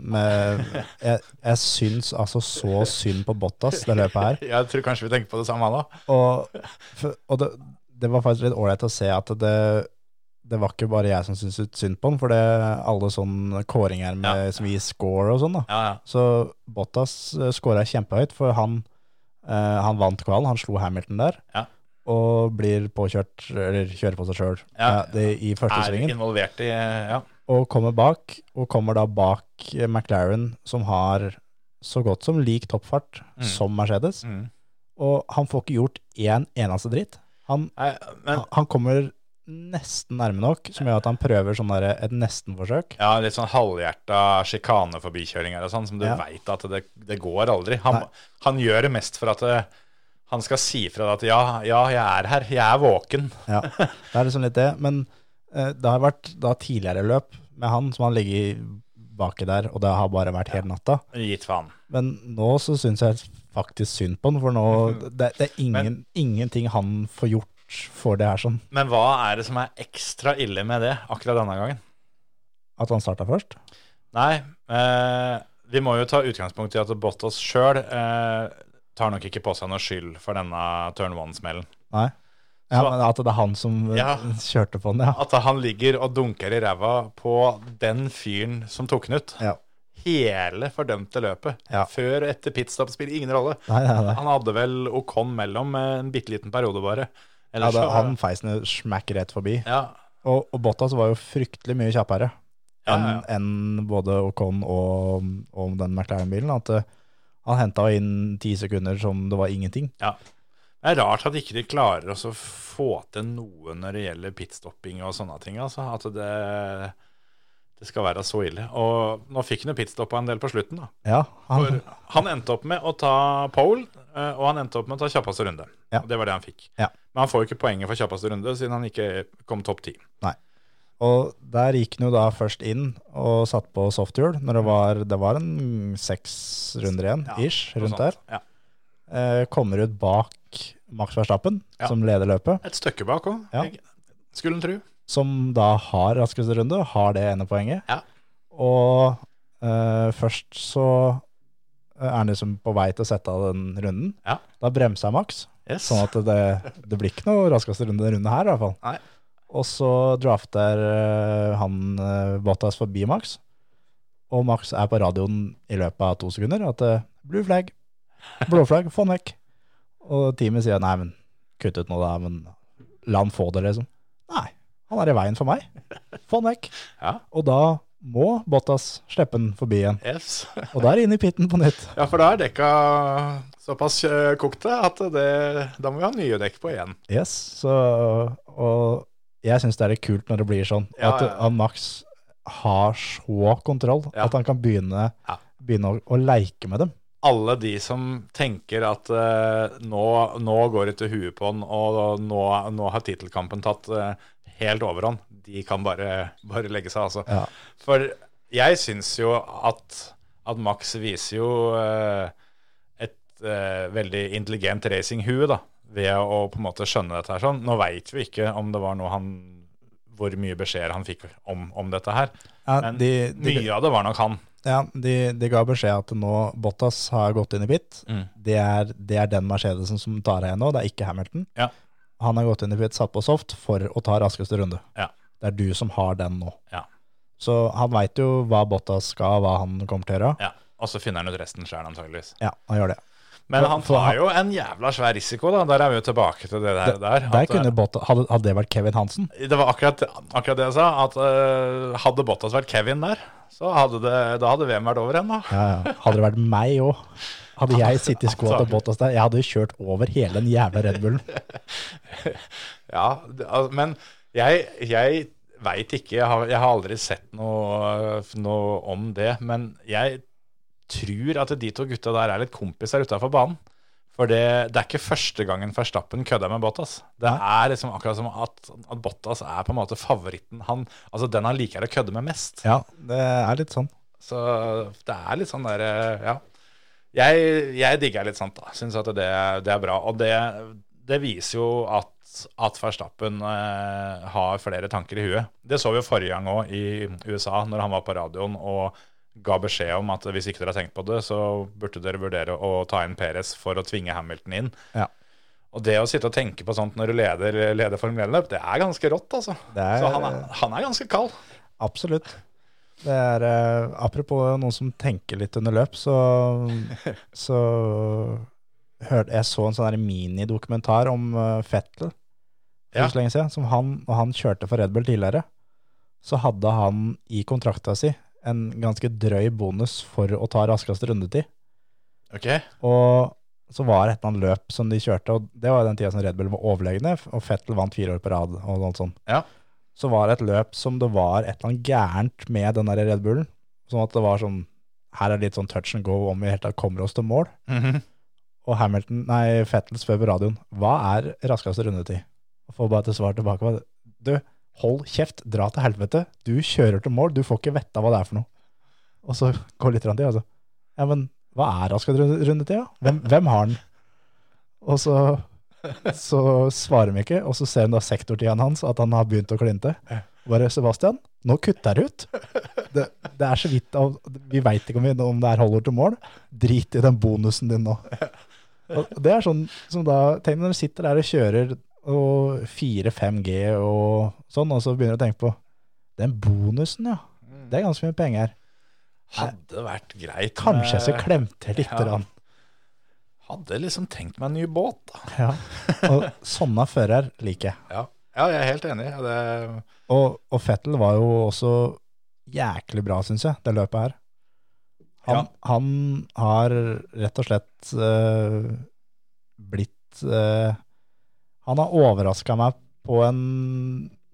D: med, jeg, jeg syns altså så synd på Bottas, det løpet her.
A: Jeg tror kanskje vi tenker på det samme nå.
D: Og, for, og det, det var faktisk litt ålreit å se at det, det var ikke bare jeg som syntes synd på han, for det alle sånne kåringer med, som gir score og sånn, da.
A: Ja, ja.
D: Så Bottas eh, skåra kjempehøyt, for han, eh, han vant kvalen, han slo Hamilton der.
A: Ja.
D: Og blir påkjørt, eller kjører på seg sjøl,
A: Ja.
D: i første
A: Er
D: svingen.
A: involvert i Ja.
D: og kommer bak, og kommer da bak eh, McLaren, som har så godt som lik toppfart
A: Mm.
D: som Mercedes.
A: Mm.
D: Og han får ikke gjort én eneste dritt. Han,
A: Nei, men
D: han- han kommer nesten nærme nok, som gjør at han prøver sånn der, et nestenforsøk.
A: ja, litt sånn halvhjerta sjikaneforbikjøringer og sånn, som du
D: Ja.
A: vet veit at det, det går aldri. Han, han gjør det mest for at eh, han skal si fra at ja, ja, jeg er her, jeg er våken.
D: Ja, det er liksom litt det. Men eh, det har vært da tidligere løp med han, som han ligger baki der, og det har bare vært hele natta.
A: Gitt faen.
D: Men nå så syns jeg faktisk synd på han, for nå Det, det er ingen, ingenting han får gjort for det her sånn.
A: Men hva er det som er ekstra ille med det akkurat denne gangen?
D: At han starta først?
A: Nei, eh, vi må jo ta utgangspunkt i at Bottas sjøl eh, tar nok ikke på seg noe skyld for denne turn one-smellen.
D: Nei. Ja,
A: Så-
D: men At det er han som eh,
A: Ja.
D: kjørte på den, ja.
A: At han ligger og dunker i ræva på den fyren som tok den ut.
D: ja.
A: Hele fordømte løpet.
D: Ja.
A: Før og etter pitstop spiller ingen rolle.
D: Nei, nei, nei.
A: Han hadde vel Ocon mellom eh, en bitte liten periode, bare.
D: Ja,
A: Ellers
D: det,
A: så-
D: han feis ned smakk rett forbi.
A: ja,
D: Og, og Bottas var jo fryktelig mye kjappere
A: ja,
D: enn
A: ja.
D: enn både Ocon og, og den McLaren-bilen. At eh, han henta inn ti sekunder som det var ingenting.
A: Det er rart at ikke de klarer også å få til noe når det gjelder pitstopping og sånne ting. Altså. At det, det skal være så ille. Og nå fikk han jo pitstoppa en del på slutten. Da.
D: Ja,
A: For
D: han,
A: han endte opp med å ta pole, eh, og han endte opp med å ta kjappeste runde.
D: Ja.
A: Og Det var det han fikk.
D: Ja.
A: Men han får jo ikke poenget for kjappeste runde, siden han ikke kom topp ti.
D: og der gikk han jo da først inn og satt på softhjul når det var, det var en seks runder igjen,
A: Ja,
D: ish, rundt
A: Noe
D: der.
A: sånt. Ja.
D: Eh, kommer ut bak Max Verstappen,
A: Ja.
D: som leder løpet.
A: Et stykke bak òg,
D: Ja.
A: skulle en tro.
D: som da har raskeste runde, har det ene poenget.
A: Ja.
D: Og eh, først så er han liksom på vei til å sette av den runden.
A: Ja.
D: Da bremser jeg Max,
A: Yes.
D: sånn at det, det blir ikke noe raskeste runde denne runden her, i hvert fall.
A: Nei.
D: Og så drafter eh, han eh, Bottas forbi Max, og Max er på radioen i løpet av to sekunder at eh, blue flag, blå flagg, få han vekk. Og teamet sier nei, men kutt ut nå da, men la han få det, liksom. Nei, han er i veien for meg. Få han vekk.
A: Ja.
D: Og da må Bottas slippe han forbi igjen.
A: Yes.
D: Og da er det inn i pitten på nytt.
A: Ja, for da er dekka såpass eh, kokte at det, da må vi ha nye dekk på igjen.
D: Yes, så, og jeg syns det er litt kult når det blir sånn.
A: Ja,
D: at
A: ja, ja.
D: at Max har så kontroll
A: Ja.
D: at han kan begynne,
A: Ja.
D: begynne å, å leke med dem.
A: Alle de som tenker at eh, nå, nå går det til huet på den, og nå, nå har tittelkampen tatt eh, helt overhånd, de kan bare, bare legge seg, altså.
D: Ja.
A: For jeg syns jo at, at Max viser jo eh, et eh, veldig intelligent racinghue, da, ved å på en måte skjønne dette her sånn. Nå veit vi ikke om det var noe han hvor mye beskjeder han fikk om, om dette her.
D: Ja,
A: Men
D: de, de,
A: mye av det var nok han.
D: ja, de, de ga beskjed at nå Bottas har gått inn i pit.
A: Mm.
D: Det, er, det er den Mercedesen som tar av igjen nå, det er ikke Hamilton.
A: Ja.
D: Han har gått inn i pit, satt på soft for å ta raskeste runde.
A: Ja.
D: Det er du som har den nå.
A: Ja.
D: Så han veit jo hva Bottas skal, hva han kommer til å gjøre.
A: Ja, Og så finner han ut resten sjøl, antageligvis.
D: Ja, han gjør det.
A: Men
D: For-
A: han
D: for
A: tar
D: han-
A: jo en jævla svær risiko, da. Der er vi jo tilbake til det der. der,
D: Der
A: at,
D: kunne Bottas, hadde, hadde det vært Kevin Hansen,
A: eh, det var akkurat, akkurat det jeg sa, at eh, hadde Bottas vært Kevin der, så hadde det, da hadde VM vært over ennå.
D: Ja, ja. Hadde det vært meg òg, hadde jeg sittet i skoa til
A: Antakelig.
D: Bottas der, jeg hadde jo kjørt over hele den jævla Red Bullen.
A: Ja, det- al- men jeg, jeg veit ikke, jeg har, jeg har aldri sett noe, noe om det. Men jeg tror at de to gutta der er litt kompiser utafor banen. For det, det er ikke første gangen Verstappen kødder med Bottas. Det er liksom akkurat som at, at Bottas er på en måte favoritten han Altså den han liker å kødde med mest.
D: Ja, det er litt sånn.
A: Så det er litt sånn derre Ja. Jeg, jeg digger litt sånt, da. Syns at det, det er bra. Og det, det viser jo at, at Verstappen eh, har flere tanker i huet. Det så vi jo forrige gang òg i USA, når han var på radioen og ga beskjed om at hvis ikke dere har tenkt på det, så burde dere vurdere å ta inn Perez for å tvinge Hamilton inn.
D: Ja.
A: Og det å sitte og tenke på sånt når du leder, leder Formel 1-løp, det er ganske rått, altså.
D: Det er-
A: så han er, han er ganske kald.
D: Absolutt. Det er, eh, apropos noen som tenker litt under løp, så, så hørte jeg så en sånn der minidokumentar om eh, Fettel for
A: Ja.
D: så lenge siden. Som han, når han kjørte for Red Bull tidligere, så hadde han i kontrakta si en ganske drøy bonus for å ta raskest rundetid.
A: Ok,
D: Og så var det et eller annet løp som de kjørte, og det var jo den tida som Red Bull var overlegne, og Fettel vant fire år på rad og alt sånt.
A: Ja.
D: Så var det et løp som det var et eller annet gærent med den der Red Bullen, sånn at det var sånn, her er det litt sånn touch and go om vi helt tatt kommer oss til mål. Og Hamilton, nei, Fettel spør på radioen, hva er raskeste rundetid? Og får bare til svar tilbake, hva- du, hold kjeft, dra til helvete, du kjører til mål, du får ikke vette hva det er for noe. Og så går litt rann til, altså. Ja, men hva er raskest runde- rundetid? da? Hvem, hvem har den? Og så, så svarer de ikke, og så ser de da sektortiden hans, at han har begynt å klinte. Bare, Sebastian, nå kutter jeg ut. Det, det er så vidt, av, vi vet ikke om, vi, om det er holder til mål. Drit i den bonusen din nå. Og det er sånn som da, tenk når du sitter der og kjører og 4-5G og sånn, og så begynner du å tenke på, den bonusen, ja.
A: Mm.
D: Det er ganske mye penger.
A: Hadde vært greit.
D: Kanskje jeg
A: med-
D: så klemte litt.
A: Ja.
D: Ja.
A: Hadde liksom tenkt meg en ny båt, da.
D: Ja. Og sånne fører liker jeg.
A: Ja, ja jeg er helt enig. Ja, det,
D: Og, og Fettel var jo også jæklig bra, syns jeg, det løpet her. Han, han har rett og slett eh, blitt eh, Han har overraska meg på en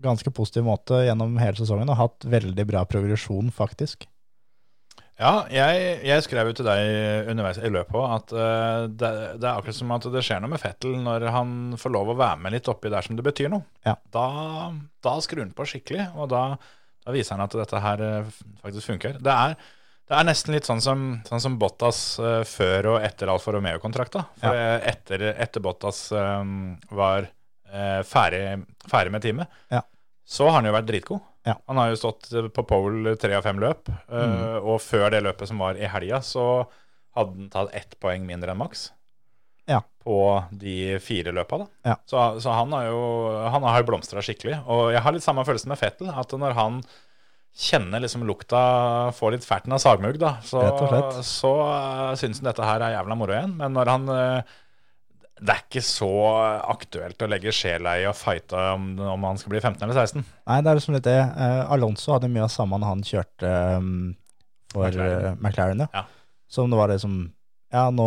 D: ganske positiv måte gjennom hele sesongen og hatt veldig bra progresjon, faktisk.
A: ja jeg, jeg skrev jo til deg underveis i løpet òg at eh, det, det er akkurat som at det skjer noe med Fettel når han får lov å være med litt oppi der som det betyr noe.
D: Ja.
A: Da, da skrur han på skikkelig, og da, da viser han at dette her eh, faktisk funker. Det er, det er nesten litt sånn som, sånn som Bottas eh, før og etter Alfa Romeo-kontrakta. For eh, etter, etter Bottas eh, var eh, ferdig, ferdig med teamet,
D: Ja.
A: så har han jo vært dritgod.
D: Ja.
A: Han har jo stått på pole tre av fem løp, eh,
D: Mm.
A: og før det løpet som var i helga, så hadde han tatt ett poeng mindre enn maks
D: Ja.
A: på de fire løpa. da.
D: Ja.
A: Så, så han har jo han har jo blomstra skikkelig. Og jeg har litt samme følelsen med Fettel, at når han kjenner liksom lukta, får litt ferten av sagmugg, da, så,
D: Rett og slett.
A: så eh, syns han dette her er jævla moro igjen. Men når han eh, det er ikke så aktuelt å legge sjela i å fighte om, om han skal bli 15 eller 16.
D: Nei, det er liksom litt det. Eh, Alonso hadde mye av samme når han kjørte um, for
A: McLaren.
D: McLaren. McLaren ja.
A: Ja.
D: Som det var liksom Ja, nå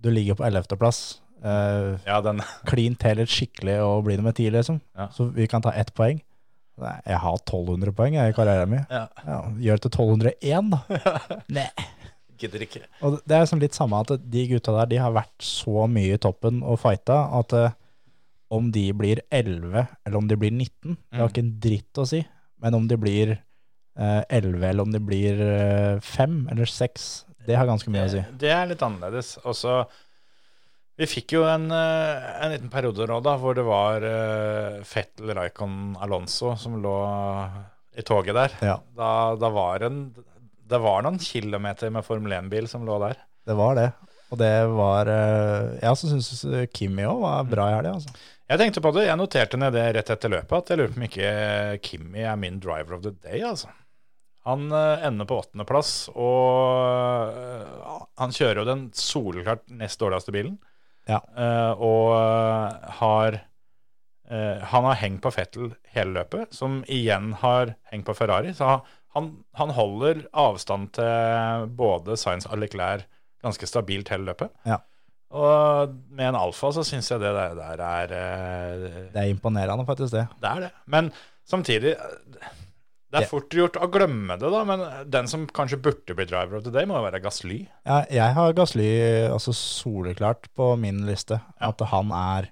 D: Du ligger på 11.-plass. Eh,
A: Ja, den,
D: Klin til litt skikkelig og bli nummer 10, liksom.
A: Ja.
D: Så vi kan ta ett poeng. Nei, jeg har 1200 poeng jeg, i karrieren min.
A: Ja.
D: gjør det til 1201, da. Nei.
A: gidder ikke.
D: Og det er liksom litt samme at de gutta der, de har vært så mye i toppen og fighta at eh, om de blir 11 eller om de blir 19, det
A: Mm.
D: har ikke en dritt å si. Men om de blir eh, 11 eller om de blir eh, 5 eller 6, det har ganske mye å si.
A: Eh, Det er litt annerledes. Og så Vi fikk jo en, eh, en liten periode nå da, hvor det var eh, Fettel, Raikon, Alonso som lå i toget der.
D: Ja,
A: Da, da var en, det var noen kilometer med Formel 1-bil som lå der.
D: det var det. Og det var eh, Jeg også syns Kimmi òg var bra i helga, altså.
A: Jeg tenkte på det, jeg noterte ned det rett etter løpet, at jeg lurer på om ikke Kimi er min driver of the day, altså. Han eh, ender på åttendeplass, og eh, han kjører jo den soleklart nest dårligste bilen.
D: Ja.
A: Eh, og eh, har eh, Han har hengt på Fettel hele løpet, som igjen har hengt på Ferrari. Så han, han holder avstand til både Sainz og Leclerc ganske stabilt hele løpet.
D: Ja.
A: Og med en alfa så syns jeg det der, der er eh,
D: Det er imponerende, faktisk, det.
A: Det er det. Men samtidig eh, Det
D: Ja.
A: er fort gjort å glemme det, da, men den som kanskje burde bli driver of the day, må jo være Gasly.
D: Ja, jeg har Gasly altså soleklart på min liste. At han er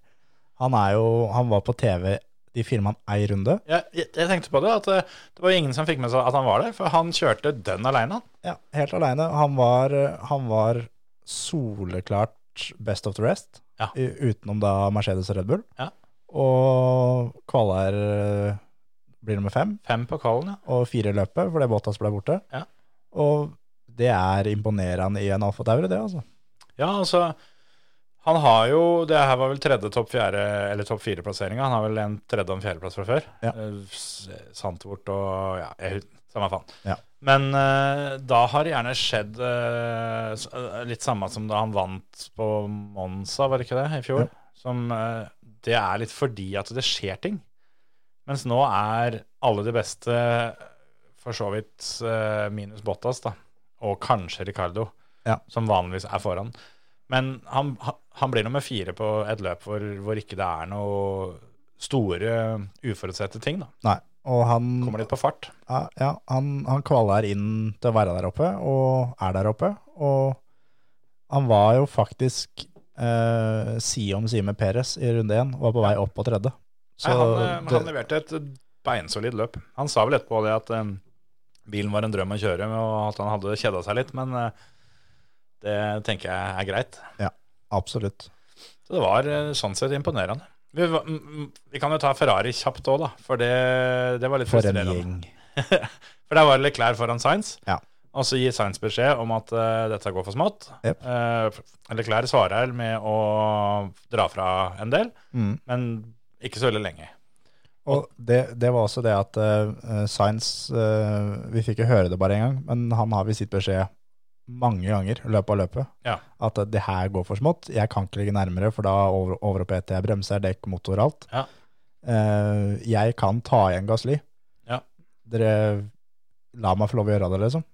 D: Han er jo Han var på TV De filma han ei runde.
A: Jeg, jeg, jeg tenkte på det, at eh, det var ingen som fikk med seg at han var der, for han kjørte dønn aleine, han.
D: Ja, helt aleine. Han var Han var soleklart best of the rest,
A: Ja.
D: i, utenom da Mercedes og Red Bull.
A: Ja.
D: Og kvaler eh, blir nummer fem,
A: Fem på kallen, ja.
D: og fire i løpet, fordi Bottas ble borte.
A: Ja.
D: Og det er imponerende i en Alfa Tauri, det, altså.
A: Ja, altså Han har jo Det her var vel tredje topp fjerde Eller topp fire plasseringa. Han har vel en tredje og en fjerdeplass fra før.
D: Ja.
A: Eh, s- Sandtvort og Ja, jeg, hus- samme faen.
D: Ja.
A: Men eh, da har det gjerne skjedd eh, s- eh, litt samme som da han vant på Monza, var det ikke det, i fjor?
D: Ja.
A: Som eh, Det er litt fordi at det skjer ting. Mens nå er alle de beste for så vidt eh, minus Bottas, da. Og kanskje Ricardo,
D: Ja.
A: som vanligvis er foran. Men han, han- han blir nummer fire på et løp hvor, hvor ikke det er noe store uforutsette ting, da.
D: Nei. Og han,
A: Kommer litt på fart.
D: ja, ja, han, han kvaler inn til å være der oppe, og er der oppe. Og han var jo faktisk eh, side om side med Peres i runde én, og var på vei opp på tredje. Så
A: Nei, han, eh,
D: det-
A: han leverte et beinsolid løp. Han sa vel etterpå det at eh, bilen var en drøm å kjøre, og at han hadde kjeda seg litt, men eh, det tenker jeg er greit.
D: Absolutt.
A: Så det var eh, sånn sett imponerende. Vi, var- m- m- vi kan jo ta Ferrari kjapt òg, da. For det, det var litt
D: For en
A: frustrerende.
D: gjeng.
A: For der var det Leclerc foran Sainz.
D: Ja.
A: Og så gir Sainz beskjed om at eh, dette går for smått.
D: Jep.
A: Eh, Leclerc svarer med å dra fra en del,
D: Mm.
A: men ikke så veldig lenge.
D: Og det, det var også det at uh, Science eh, Vi fikk jo høre det bare en gang, men han har visst gitt beskjed mange ganger i løpet av løpet
A: Ja.
D: at eh, det her går for smått. Jeg kan ikke ligge nærmere, for da over, overoppheter jeg bremser, dekk, motor, alt.
A: Ja.
D: Eh, jeg kan ta igjen Gassly.
A: Ja.
D: Dere la meg få lov å gjøre det, liksom.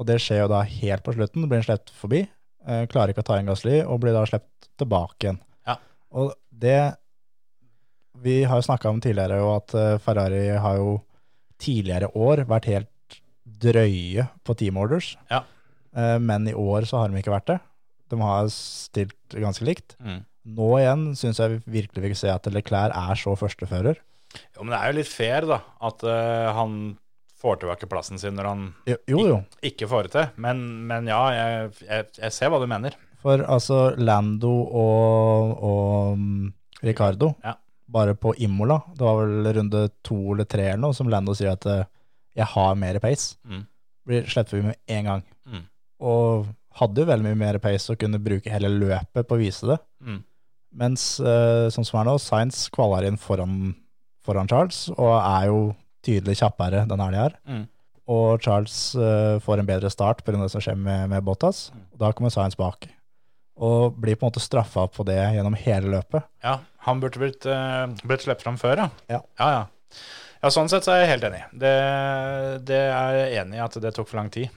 D: Og det skjer jo da helt på slutten. Blir han sluppet forbi, eh, klarer ikke å ta igjen Gassly, og blir da sluppet tilbake igjen.
A: Ja.
D: Og det vi har jo snakka om tidligere jo at eh, Ferrari har jo tidligere år vært helt drøye på team orders.
A: Ja.
D: Eh, Men i år så har de ikke vært det. De har stilt ganske likt.
A: Mm.
D: Nå igjen syns jeg virkelig vi kan se at Leclerc er så førstefører.
A: Jo, men det er jo litt fair, da, at eh, han får tilbake plassen sin når han
D: Jo, jo, jo.
A: ikke får det til. Men, men ja, jeg, jeg, jeg ser hva du mener.
D: For altså Lando og, og Ricardo,
A: Ja.
D: bare på Imola, det var vel runde to eller tre eller noe, som Lando sier at eh, jeg har mer pace.
A: Mm.
D: Blir slipper vi med en gang.
A: Mm.
D: Og hadde jo veldig mye mer pace og kunne bruke hele løpet på å vise det.
A: Mm.
D: Mens eh, sånn som er nå, Sainz kvaler inn foran, foran Charles, og er jo tydelig kjappere den helga her.
A: Mm.
D: Og Charles eh, får en bedre start pga. det som skjer med, med Bottas.
A: Mm.
D: Og da kommer Sainz bak. Og blir på en måte straffa på det gjennom hele løpet.
A: Ja, han burde blitt, eh, blitt sluppet fram før, ja.
D: Ja.
A: ja, ja. Ja, Sånn sett så er jeg helt enig. Det, det er jeg enig i at det tok for lang tid.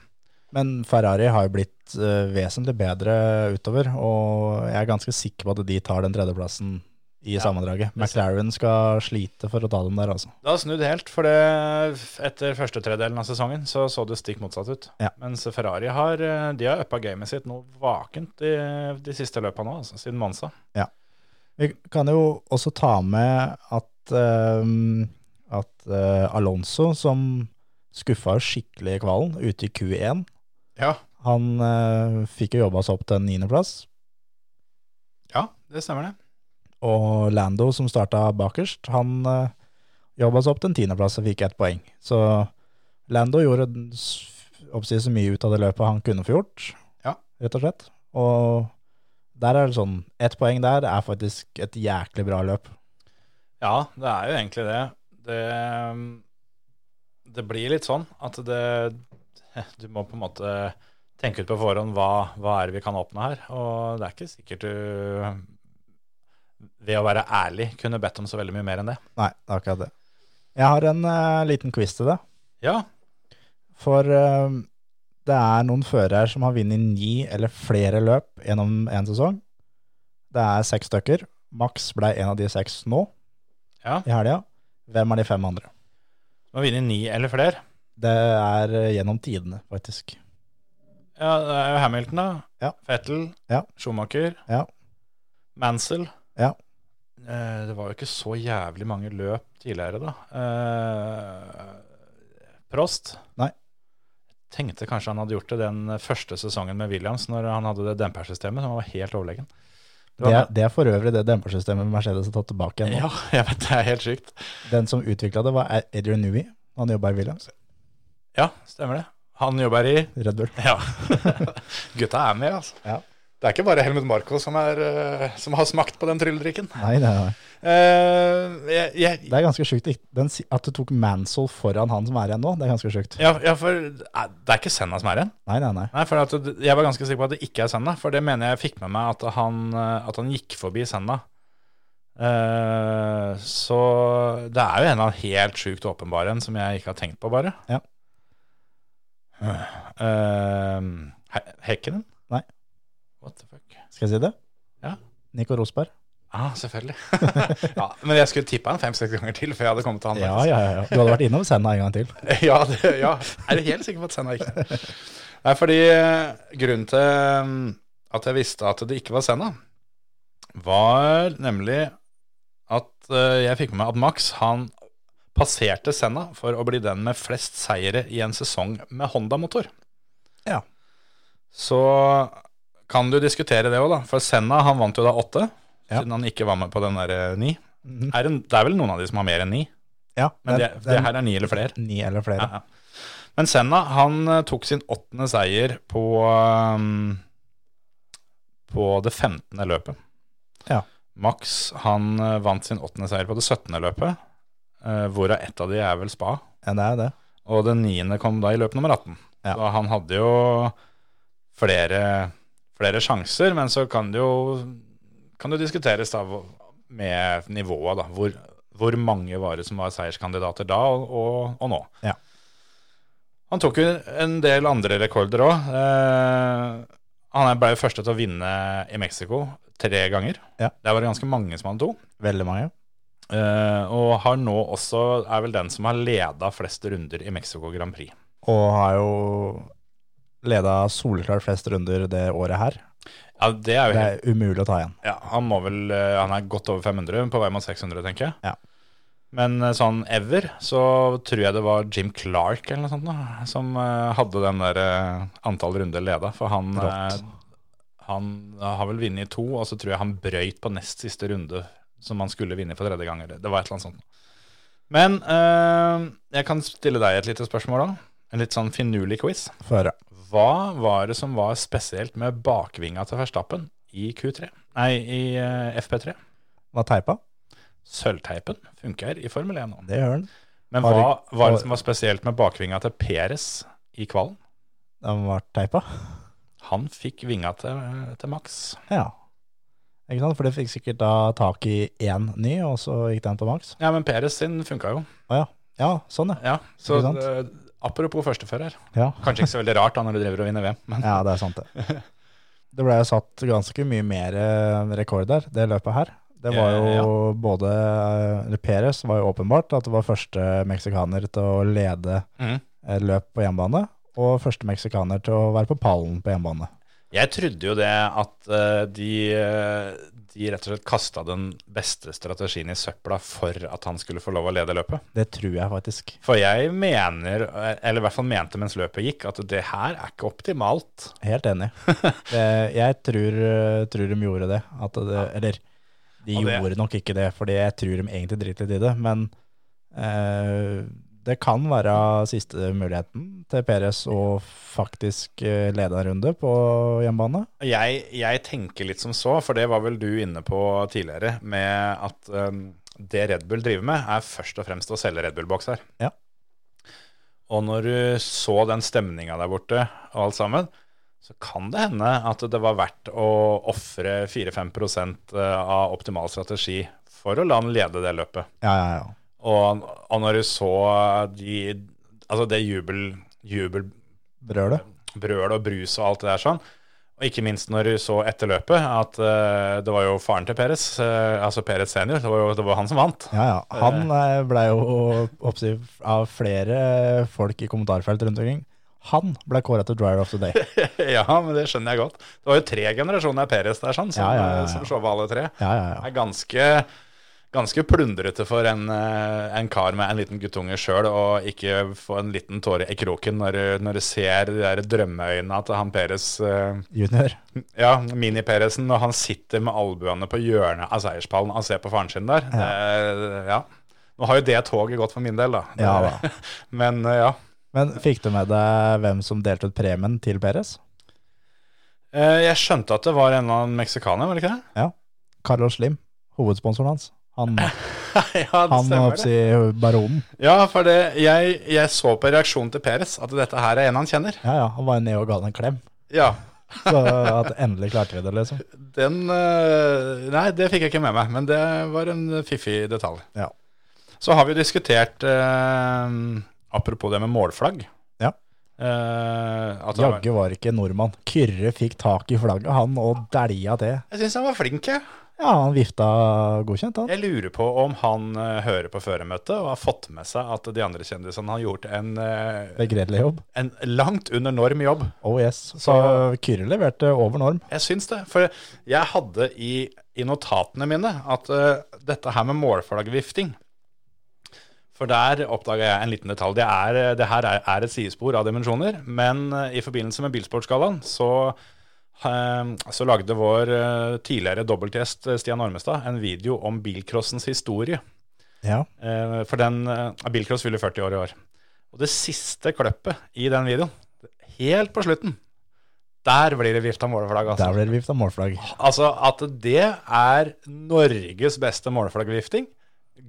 D: Men Ferrari har jo blitt eh, vesentlig bedre utover, og jeg er ganske sikker på at de tar den tredjeplassen i sammendraget.
A: det ser-
D: McLaren skal slite for å ta dem der, altså.
A: Det har snudd helt, for det, etter første tredelen av sesongen så så det stikk motsatt ut.
D: Ja.
A: Mens Ferrari har, eh, de har uppa gamet sitt noe vakent i de siste løpene nå, altså, siden Monza.
D: Vi kan jo også ta med at, ehm, at eh, Alonso, som skuffa jo skikkelig i kvalen ute i Q1,
A: Ja,
D: han eh, fikk jo jobba seg opp til en niendeplass.
A: ja det stemmer det.
D: Og Lando, som starta bakerst, han uh, jobba seg opp til en tiendeplass og fikk ett poeng. Så Lando gjorde den s- oppsi så mye ut av det løpet han kunne få gjort,
A: Ja.
D: rett og slett. Og der er det sånn, ett poeng der er faktisk et jæklig bra løp.
A: Ja, det er jo egentlig det. Det, mm, det blir litt sånn at det Du må på en måte tenke ut på forhånd hva, hva er det vi kan oppnå her. Og det er ikke sikkert du ved å være ærlig kunne bedt om så veldig mye mer enn det.
D: Nei, det er akkurat det. Jeg har en eh, liten quiz til deg.
A: Ja,
D: For eh, det er noen førere som har vunnet ni eller flere løp gjennom en sesong. Det er seks stykker. Max ble en av de seks nå
A: Ja.
D: i helga. Hvem er de fem andre?
A: du må vinne ni eller flere.
D: Det er eh, gjennom tidene, faktisk.
A: Ja, det er jo Hamilton, da.
D: Ja.
A: Fettel.
D: Ja.
A: Schumacher.
D: Ja.
A: Mansell.
D: Ja.
A: Eh, det var jo ikke så jævlig mange løp tidligere, da. Eh, Prost.
D: Nei.
A: Jeg Tenkte kanskje han hadde gjort det den første sesongen med Williams, når han hadde det dempersystemet som var helt overlegen. Det
D: Det
A: var,
D: er, det er for øvrig det dempersystemet Mercedes har tatt tilbake igjen nå.
A: ja, jeg vet det er helt sykt.
D: Den som utvikla det, var Adrian Newey. Han jobba i Williams.
A: Ja, stemmer det. Han jobber i
D: Red Bull.
A: Ja. Gutta er med, altså.
D: Ja.
A: Det er ikke bare Helmut Marko som, er, eh, som har smakt på den trylledrikken.
D: Nei, nei, nei.
A: Eh, jeg, jeg,
D: Det er ganske sjukt ikk- den si- at du tok Mansell foran han som er igjen nå. Det er ganske sjukt.
A: ja, ja, for eh, det er ikke Senna som er igjen.
D: Nei, nei, nei.
A: Nei, for at, det- Jeg var ganske sikker på at det ikke er Senna, for det mener jeg fikk med meg at han, eh, at han gikk forbi Senna. Eh, så det er jo en eller annen helt sjukt åpenbar en som jeg ikke har tenkt på, bare.
D: Ja.
A: Eh, He- Hekkinen?
D: Nei.
A: What the fuck?
D: Skal jeg si det?
A: Ja.
D: Nico Rosberg.
A: Ja, selvfølgelig. ja, men jeg skulle tippa han fem-seks ganger til før jeg hadde kommet til han.
D: Ja, ja, ja. Du hadde vært innom Senna en gang til.
A: ja, det, ja. Er du helt sikker på at Senna gikk ned? Nei, fordi eh, grunnen til mm, at jeg visste at det ikke var Senna, var nemlig at eh, jeg fikk med meg at Max han passerte Senna for å bli den med flest seire i en sesong med Honda-motor.
D: Ja.
A: Så kan du diskutere det òg, da. For Senna han vant jo da åtte,
D: Ja.
A: siden han ikke var med på den der eh, ni.
D: Mhm.
A: Er det, det er vel noen av de som har mer enn ni,
D: Ja,
A: men det,
D: den-
A: det
D: den-
A: her er ni eller flere.
D: Ni eller flere.
A: Ja, ja. Men Senna han eh, tok sin åttende seier på um, på det 15. løpet.
D: Ja.
A: Max han eh, vant sin åttende seier på det 17. løpet, eh, hvorav ett av de er vel spa.
D: Ja, det er det.
A: Og den niende kom da i løp nummer 18.
D: Ja.
A: Så han hadde jo flere, flere sjanser, men så kan det jo kan det jo diskuteres da hvor- med nivået, da. Hvor, hvor mange var det som var seierskandidater da og, og, og nå?
D: Ja.
A: Han tok jo en del andre rekorder òg. Eh, han ble jo første til å vinne i Mexico tre ganger.
D: Ja.
A: Der var det ganske mange som han tok.
D: Veldig mange.
A: Eh, og har nå også, er vel den som har leda flest runder i Mexico Grand Prix.
D: Og har jo leda soleklart flest runder det året her.
A: Ja, det er jo
D: Det
A: helt,
D: er umulig å ta igjen.
A: ja, han må vel eh, Han er godt over 500, på vei mot 600, tenker jeg.
D: Ja.
A: Men eh, sånn ever så tror jeg det var Jim Clark eller noe sånt da, som eh, hadde den der eh, antall runder leda. For han,
D: Rått.
A: eh, han har vel vunnet i to, og så tror jeg han brøyt på nest siste runde som han skulle vinne for tredje gang. Eller. Det var et eller annet sånt. Men eh, jeg kan stille deg et lite spørsmål da. En litt sånn finurlig quiz.
D: Få høre.
A: Hva var det som var spesielt med bakvinga til Verstappen i Q3? Nei, i eh, FP3.
D: Var teipa?
A: Sølvteipen funker i Formel 1 nå.
D: Det gjør den.
A: Men
D: Har
A: hva
D: vi-
A: var det som var spesielt med bakvinga til Peres i kvalen?
D: Den var teipa.
A: Han fikk vinga til, eh, til Max.
D: Ja. Ikke sant? For det fikk sikkert da tak i én ny, og så gikk den på maks.
A: Ja, men Peres sin funka jo.
D: Å ja. Ja, sånn ja.
A: Ja, så
D: Ikke sant?
A: eh, apropos førstefører.
D: Ja.
A: Kanskje ikke så veldig rart da når du driver og vinner VM, men
D: ja, det er sant det. Det ble jo satt ganske mye mer eh, rekorder, det løpet her. Det var jo
A: Eh,
D: både eh, eller Perez var jo åpenbart at det var første meksikaner til å lede
A: Mhm.
D: eh, løp på hjemmebane, og første meksikaner til å være på pallen på hjemmebane.
A: Jeg trodde jo det at eh, de, eh, de rett og slett kasta den beste strategien i søpla for at han skulle få lov å lede løpet.
D: Det tror jeg faktisk.
A: For jeg mener, eller i hvert fall mente mens løpet gikk, at det her er ikke optimalt.
D: Helt enig. Det, jeg tror, eh, tror de gjorde det. At det Eller, de
A: Og det-
D: gjorde nok ikke det, fordi jeg tror de egentlig driter litt i det. Men eh, det kan være siste muligheten til Peres å faktisk eh, lede en runde på hjemmebane.
A: Jeg, jeg tenker litt som så, for det var vel du inne på tidligere, med at um, det Red Bull driver med, er først og fremst å selge Red Bull-bokser.
D: Ja.
A: Og når du så den stemninga der borte og alt sammen, så kan det hende at det var verdt å ofre 4-5 prosent, eh, av optimal strategi for å la han lede det løpet.
D: Ja, ja, ja.
A: Og, og når du så de, altså det jubel, jubelbrølet
D: Brøl det?
A: og brus og alt det der sånn, og ikke minst når du så etter løpet at eh, det var jo faren til Peres, eh, altså Peres senior, det var jo det var han som vant.
D: Ja, ja. Han eh, ble jo oppstyr av flere folk i kommentarfelt rundt omkring. Han ble kåra til driver of the day.
A: ja, men det skjønner jeg godt. Det var jo tre generasjoner av Peres der sånn, som,
D: Ja, ja, ja, ja.
A: som showa alle tre.
D: Ja, ja, ja.
A: Det er ganske, ganske plundrete for en, eh, en kar med en liten guttunge sjøl å ikke få en liten tåre i kroken når, du- når du ser de der drømmeøynene til han Peres eh,
D: Junior.
A: Ja, Mini-Peresen, når han sitter med albuene på hjørnet av seierspallen og ser på faren sin der. Det- ja. Nå har jo det toget gått for min del, da. Det-
D: Ja da.
A: Men eh, ja.
D: Men fikk du med deg hvem som delte ut premien til Perez?
A: Eh, Jeg skjønte at det var en eller annen meksikaner, var det ikke det?
D: Ja. Carlos Slim, hovedsponsoren hans. Han,
A: ja, det
D: han
A: stemmer det.
D: oppsi baronen.
A: Ja, for det, jeg, jeg så på reaksjonen til Peres at dette her er en han kjenner.
D: Ja, ja, han var nede og ga den en klem.
A: Ja,
D: Så at endelig klarte vi det, liksom.
A: den eh, Nei, det fikk jeg ikke med meg, men det var en fiffig detalj.
D: Ja.
A: Så har vi jo diskutert, eh, apropos det med målflagg
D: Ja.
A: eh, at han,
D: Jaggu var ikke nordmann. Kyrre fikk tak i flagget, han, og dælja til.
A: Jeg syns han var flink, jeg.
D: Ja, han vifta godkjent, han.
A: Jeg lurer på om han eh, hører på føremøtet og har fått med seg at de andre kjendisene har gjort en, eh,
D: Begredelig jobb.
A: en langt under norm jobb.
D: Oh yes. Så Kyrre leverte over norm.
A: Jeg syns det. For jeg hadde i, i notatene mine at eh, dette her med målflaggvifting For der oppdaga jeg en liten detalj. Det, er, eh, det her er, er et sidespor av dimensjoner. Men eh, i forbindelse med Bilsportgallaen så, eh, så lagde vår eh, tidligere dobbeltgjest eh, Stian Ormestad en video om bilcrossens historie.
D: Ja.
A: Eh, for den eh, Bilcross fyller 40 år i år. Og det siste kløppet i den videoen, helt på slutten, der blir det vifta målflagg. Altså.
D: Der ble det vifta målflagg.
A: Altså at det er Norges beste målflaggvifting,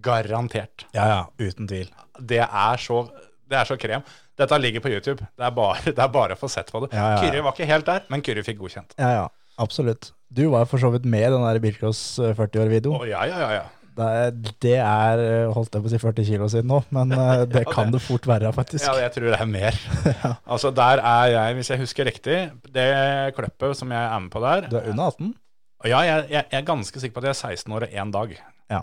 A: garantert.
D: Ja, ja, uten tvil.
A: Det er så, det er så krem. Dette ligger på YouTube. Det er bare, det er bare å få sett på det.
D: Ja, ja, ja.
A: Kyrre var ikke helt der, men Kyrre fikk godkjent.
D: Ja, ja, absolutt. Du var jo for så vidt med i den der Bilcross 40-år-videoen.
A: Å, ja, ja, ja, ja.
D: Det, er- det er, eh, holdt jeg på å si, 40 kilo siden nå, men eh, det kan det fort være, faktisk.
A: ja, jeg tror det er mer. Altså der er jeg, hvis jeg husker riktig, det kløppet som jeg er med på der
D: Du er under 18?
A: Og Ja, jeg, jeg, jeg er ganske sikker på at jeg er 16 år og én dag.
D: Ja.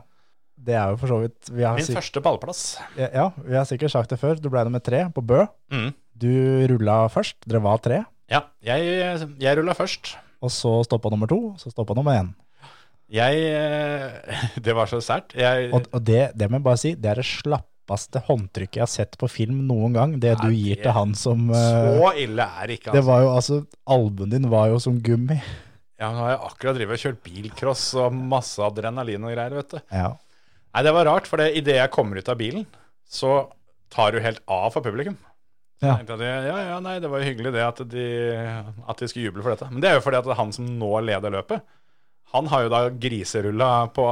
D: Det er jo for så vidt vi har,
A: Min
D: sik
A: første pallplass.
D: ja, vi har sikkert sagt det før. Du ble nummer tre på Bø.
A: Mm.
D: Du rulla først. Dere var tre.
A: Ja, jeg, jeg rulla først.
D: Og så stoppa nummer to, så stoppa nummer én.
A: Jeg eh, Det var så sært. Jeg,
D: Og, og det, det må jeg bare si, det er det slappeste håndtrykket jeg har sett på film noen gang. Det du gir
A: det-
D: til han som eh,
A: så ille er det ikke.
D: Det
A: Altså.
D: var jo altså Albuen din var jo som gummi.
A: Ja, nå har jeg akkurat drivet og kjørt bilcross og masse adrenalin og greier, vet du.
D: Ja.
A: Nei, det var rart, for idet jeg kommer ut av bilen, så tar du helt av for publikum.
D: Ja.
A: Jeg tenkte at jeg, ja, ja, nei, det var jo hyggelig det at de, at de skulle juble for dette. Men det er jo fordi at han som nå leder løpet, han har jo da griserulla på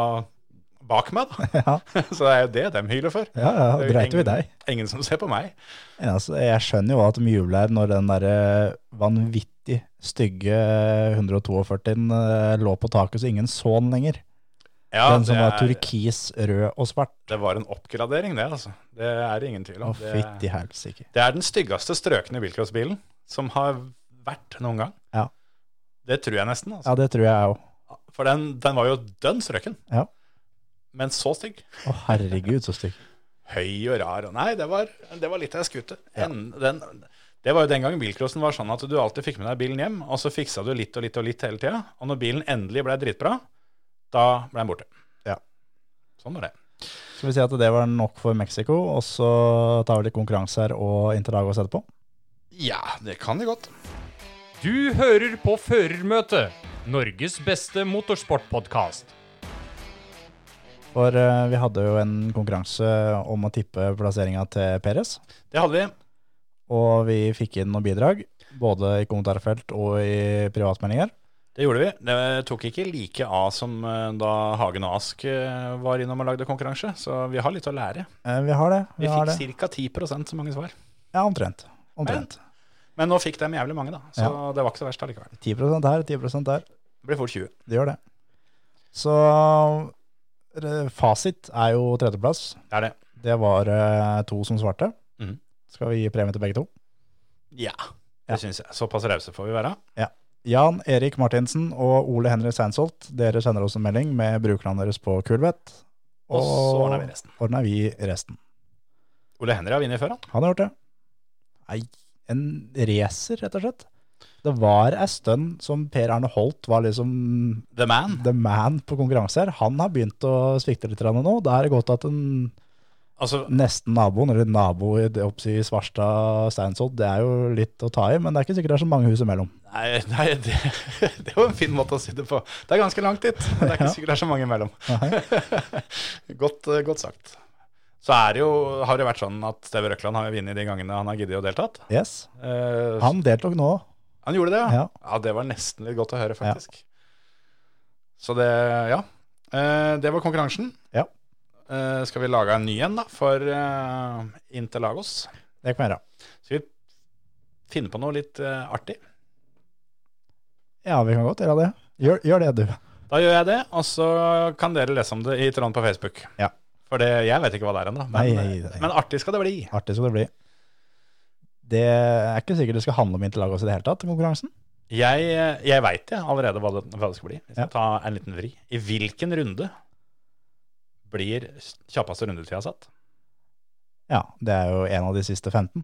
A: bak meg, da.
D: Ja.
A: Så det er jo det de hyler for.
D: Ja, ja,
A: Det er jo
D: dreit jo i
A: ingen-
D: deg.
A: Ingen som ser på meg.
D: Ja, altså, jeg skjønner jo at de jubler når den der eh, vanvittig stygge 142-en eh, lå på taket så ingen så den lenger.
A: Ja,
D: den som
A: det
D: var
A: er-
D: turkis, rød og svart.
A: Det var en oppgradering, det, altså. Det er det ingen tvil
D: Å,
A: om.
D: fytti
A: det,
D: helsike.
A: det er den styggeste strøkne bilcrossbilen som har vært noen gang.
D: Ja.
A: Det tror jeg nesten, altså.
D: Ja, det tror jeg òg.
A: For den, den var jo dønn strøken,
D: Ja.
A: men så stygg.
D: Å, herregud, så stygg.
A: Høy og rar. Og nei, det var, det var litt av ei skute. En- den- Det var jo den gangen bilcrossen var sånn at du alltid fikk med deg bilen hjem, og så fiksa du litt og litt og litt hele tida. Og når bilen endelig ble dritbra, da ble den borte.
D: Ja.
A: Sånn var det.
D: Skal vi si at det var nok for Mexico, og så tar vi litt konkurranse her og Interlagos etterpå?
A: Ja, det kan de godt.
E: Du hører på Førermøtet, Norges beste motorsportpodkast.
D: For eh, vi hadde jo en konkurranse om å tippe plasseringa til Perez.
A: Det hadde vi.
D: Og vi fikk inn noen bidrag, både i kommentarfelt og i privatmeldinger.
A: Det gjorde vi. Det tok ikke like av som eh, da Hagen og Ask eh, var innom og lagde konkurranse, så vi har litt å lære.
D: Eh, Vi har det.
A: Vi
D: har det.
A: fikk ca. 10 så mange svar.
D: Ja, omtrent. Omtrent.
A: Men nå fikk de jævlig mange, da, så det var ikke så verst allikevel.
D: 10 her, 10 der.
A: Det blir fort 20.
D: Det gjør det. Så eh, fasit er jo tredjeplass.
A: Det er det.
D: Det var eh, to som svarte.
A: Mhm.
D: Skal vi gi premie til begge to?
A: Ja, det syns jeg. Såpass rause får vi være.
D: Jan Erik Martinsen og Ole Henry Seinsholt, dere sender oss en melding med brukerne deres på Kulvett.
A: Og så ordner vi resten.
D: ordner vi resten.
A: Ole Henry har vunnet før, han.
D: Han har gjort det. Nei, en racer, rett og slett. Det var ei stund som Per Arne Holt var liksom
A: The Man.
D: the man på konkurranser. Han har begynt å svikte litt grann nå. Da er det godt at en
A: Altså,
D: nesten naboen, eller nabo i det oppsi i Svarstad Steinsholt, det er jo litt å ta i, men det er ikke sikkert det er så mange hus imellom.
A: nei, nei det, det var en fin måte å si det på. Det er ganske langt dit. men Det er ikke sikkert det er så mange imellom. godt, eh, godt sagt. Så er det jo, har det vært sånn at Steve Røkland har jo vunnet de gangene han har giddet å deltatt.
D: Yes.
A: Eh,
D: Han deltok nå.
A: Han gjorde det, ja. ja.
D: Ja.
A: det var nesten litt godt å høre, faktisk. Så det, ja. Eh, det var konkurransen.
D: Ja.
A: Eh, skal vi lage en ny en, da, for eh, Interlagos?
D: Det kan vi gjøre.
A: Skal vi finne på noe litt eh, artig?
D: Ja, vi kan godt gjøre det. Gjør, gjør det, du.
A: Da gjør jeg det, og så kan dere lese om det i Trond på Facebook.
D: Ja.
A: For det, jeg vet ikke hva det er ennå, men,
D: Nei, nei, nei.
A: men artig skal det bli.
D: Artig skal det bli. Det er ikke sikkert det skal handle om Interlagos i det hele tatt, konkurransen.
A: Jeg, jeg veit jeg allerede hva det, hva det skal bli. Vi skal
D: Ja.
A: ta en liten vri. I hvilken runde blir kjappeste rundetida satt?
D: Ja, det er jo en av de siste 15,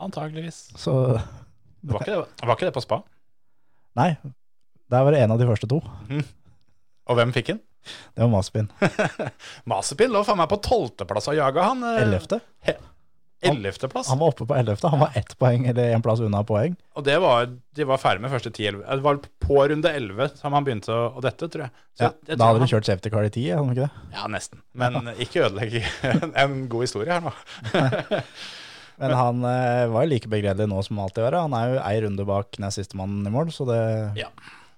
A: Antageligvis.
D: så
A: Var ikke, det, var ikke det på spa?
D: Nei, der var det en av de første to.
A: Og hvem fikk den?
D: Det var Maspin.
A: Mazepin lå faen meg på tolvteplass og jaga han. eh,
D: Ellevte.
A: Ellevteplass.
D: Han var oppe på ellevte. Han var ett poeng, eller én plass unna poeng.
A: Og det var, de var ferdig med første ti-elleve. Det var på runde elleve som han begynte å, å dette, tror jeg. Så
D: Ja,
A: jeg- jeg
D: da
A: tror
D: hadde
A: han-
D: vi kjørt safety car i ti, hadde vi ikke det?
A: Ja, nesten. Men ikke ødelegg en, en god historie her nå.
D: Men han eh, var jo like begredelig nå som alltid var. Han er jo ei runde bak nest sistemann i mål, så det
A: Ja.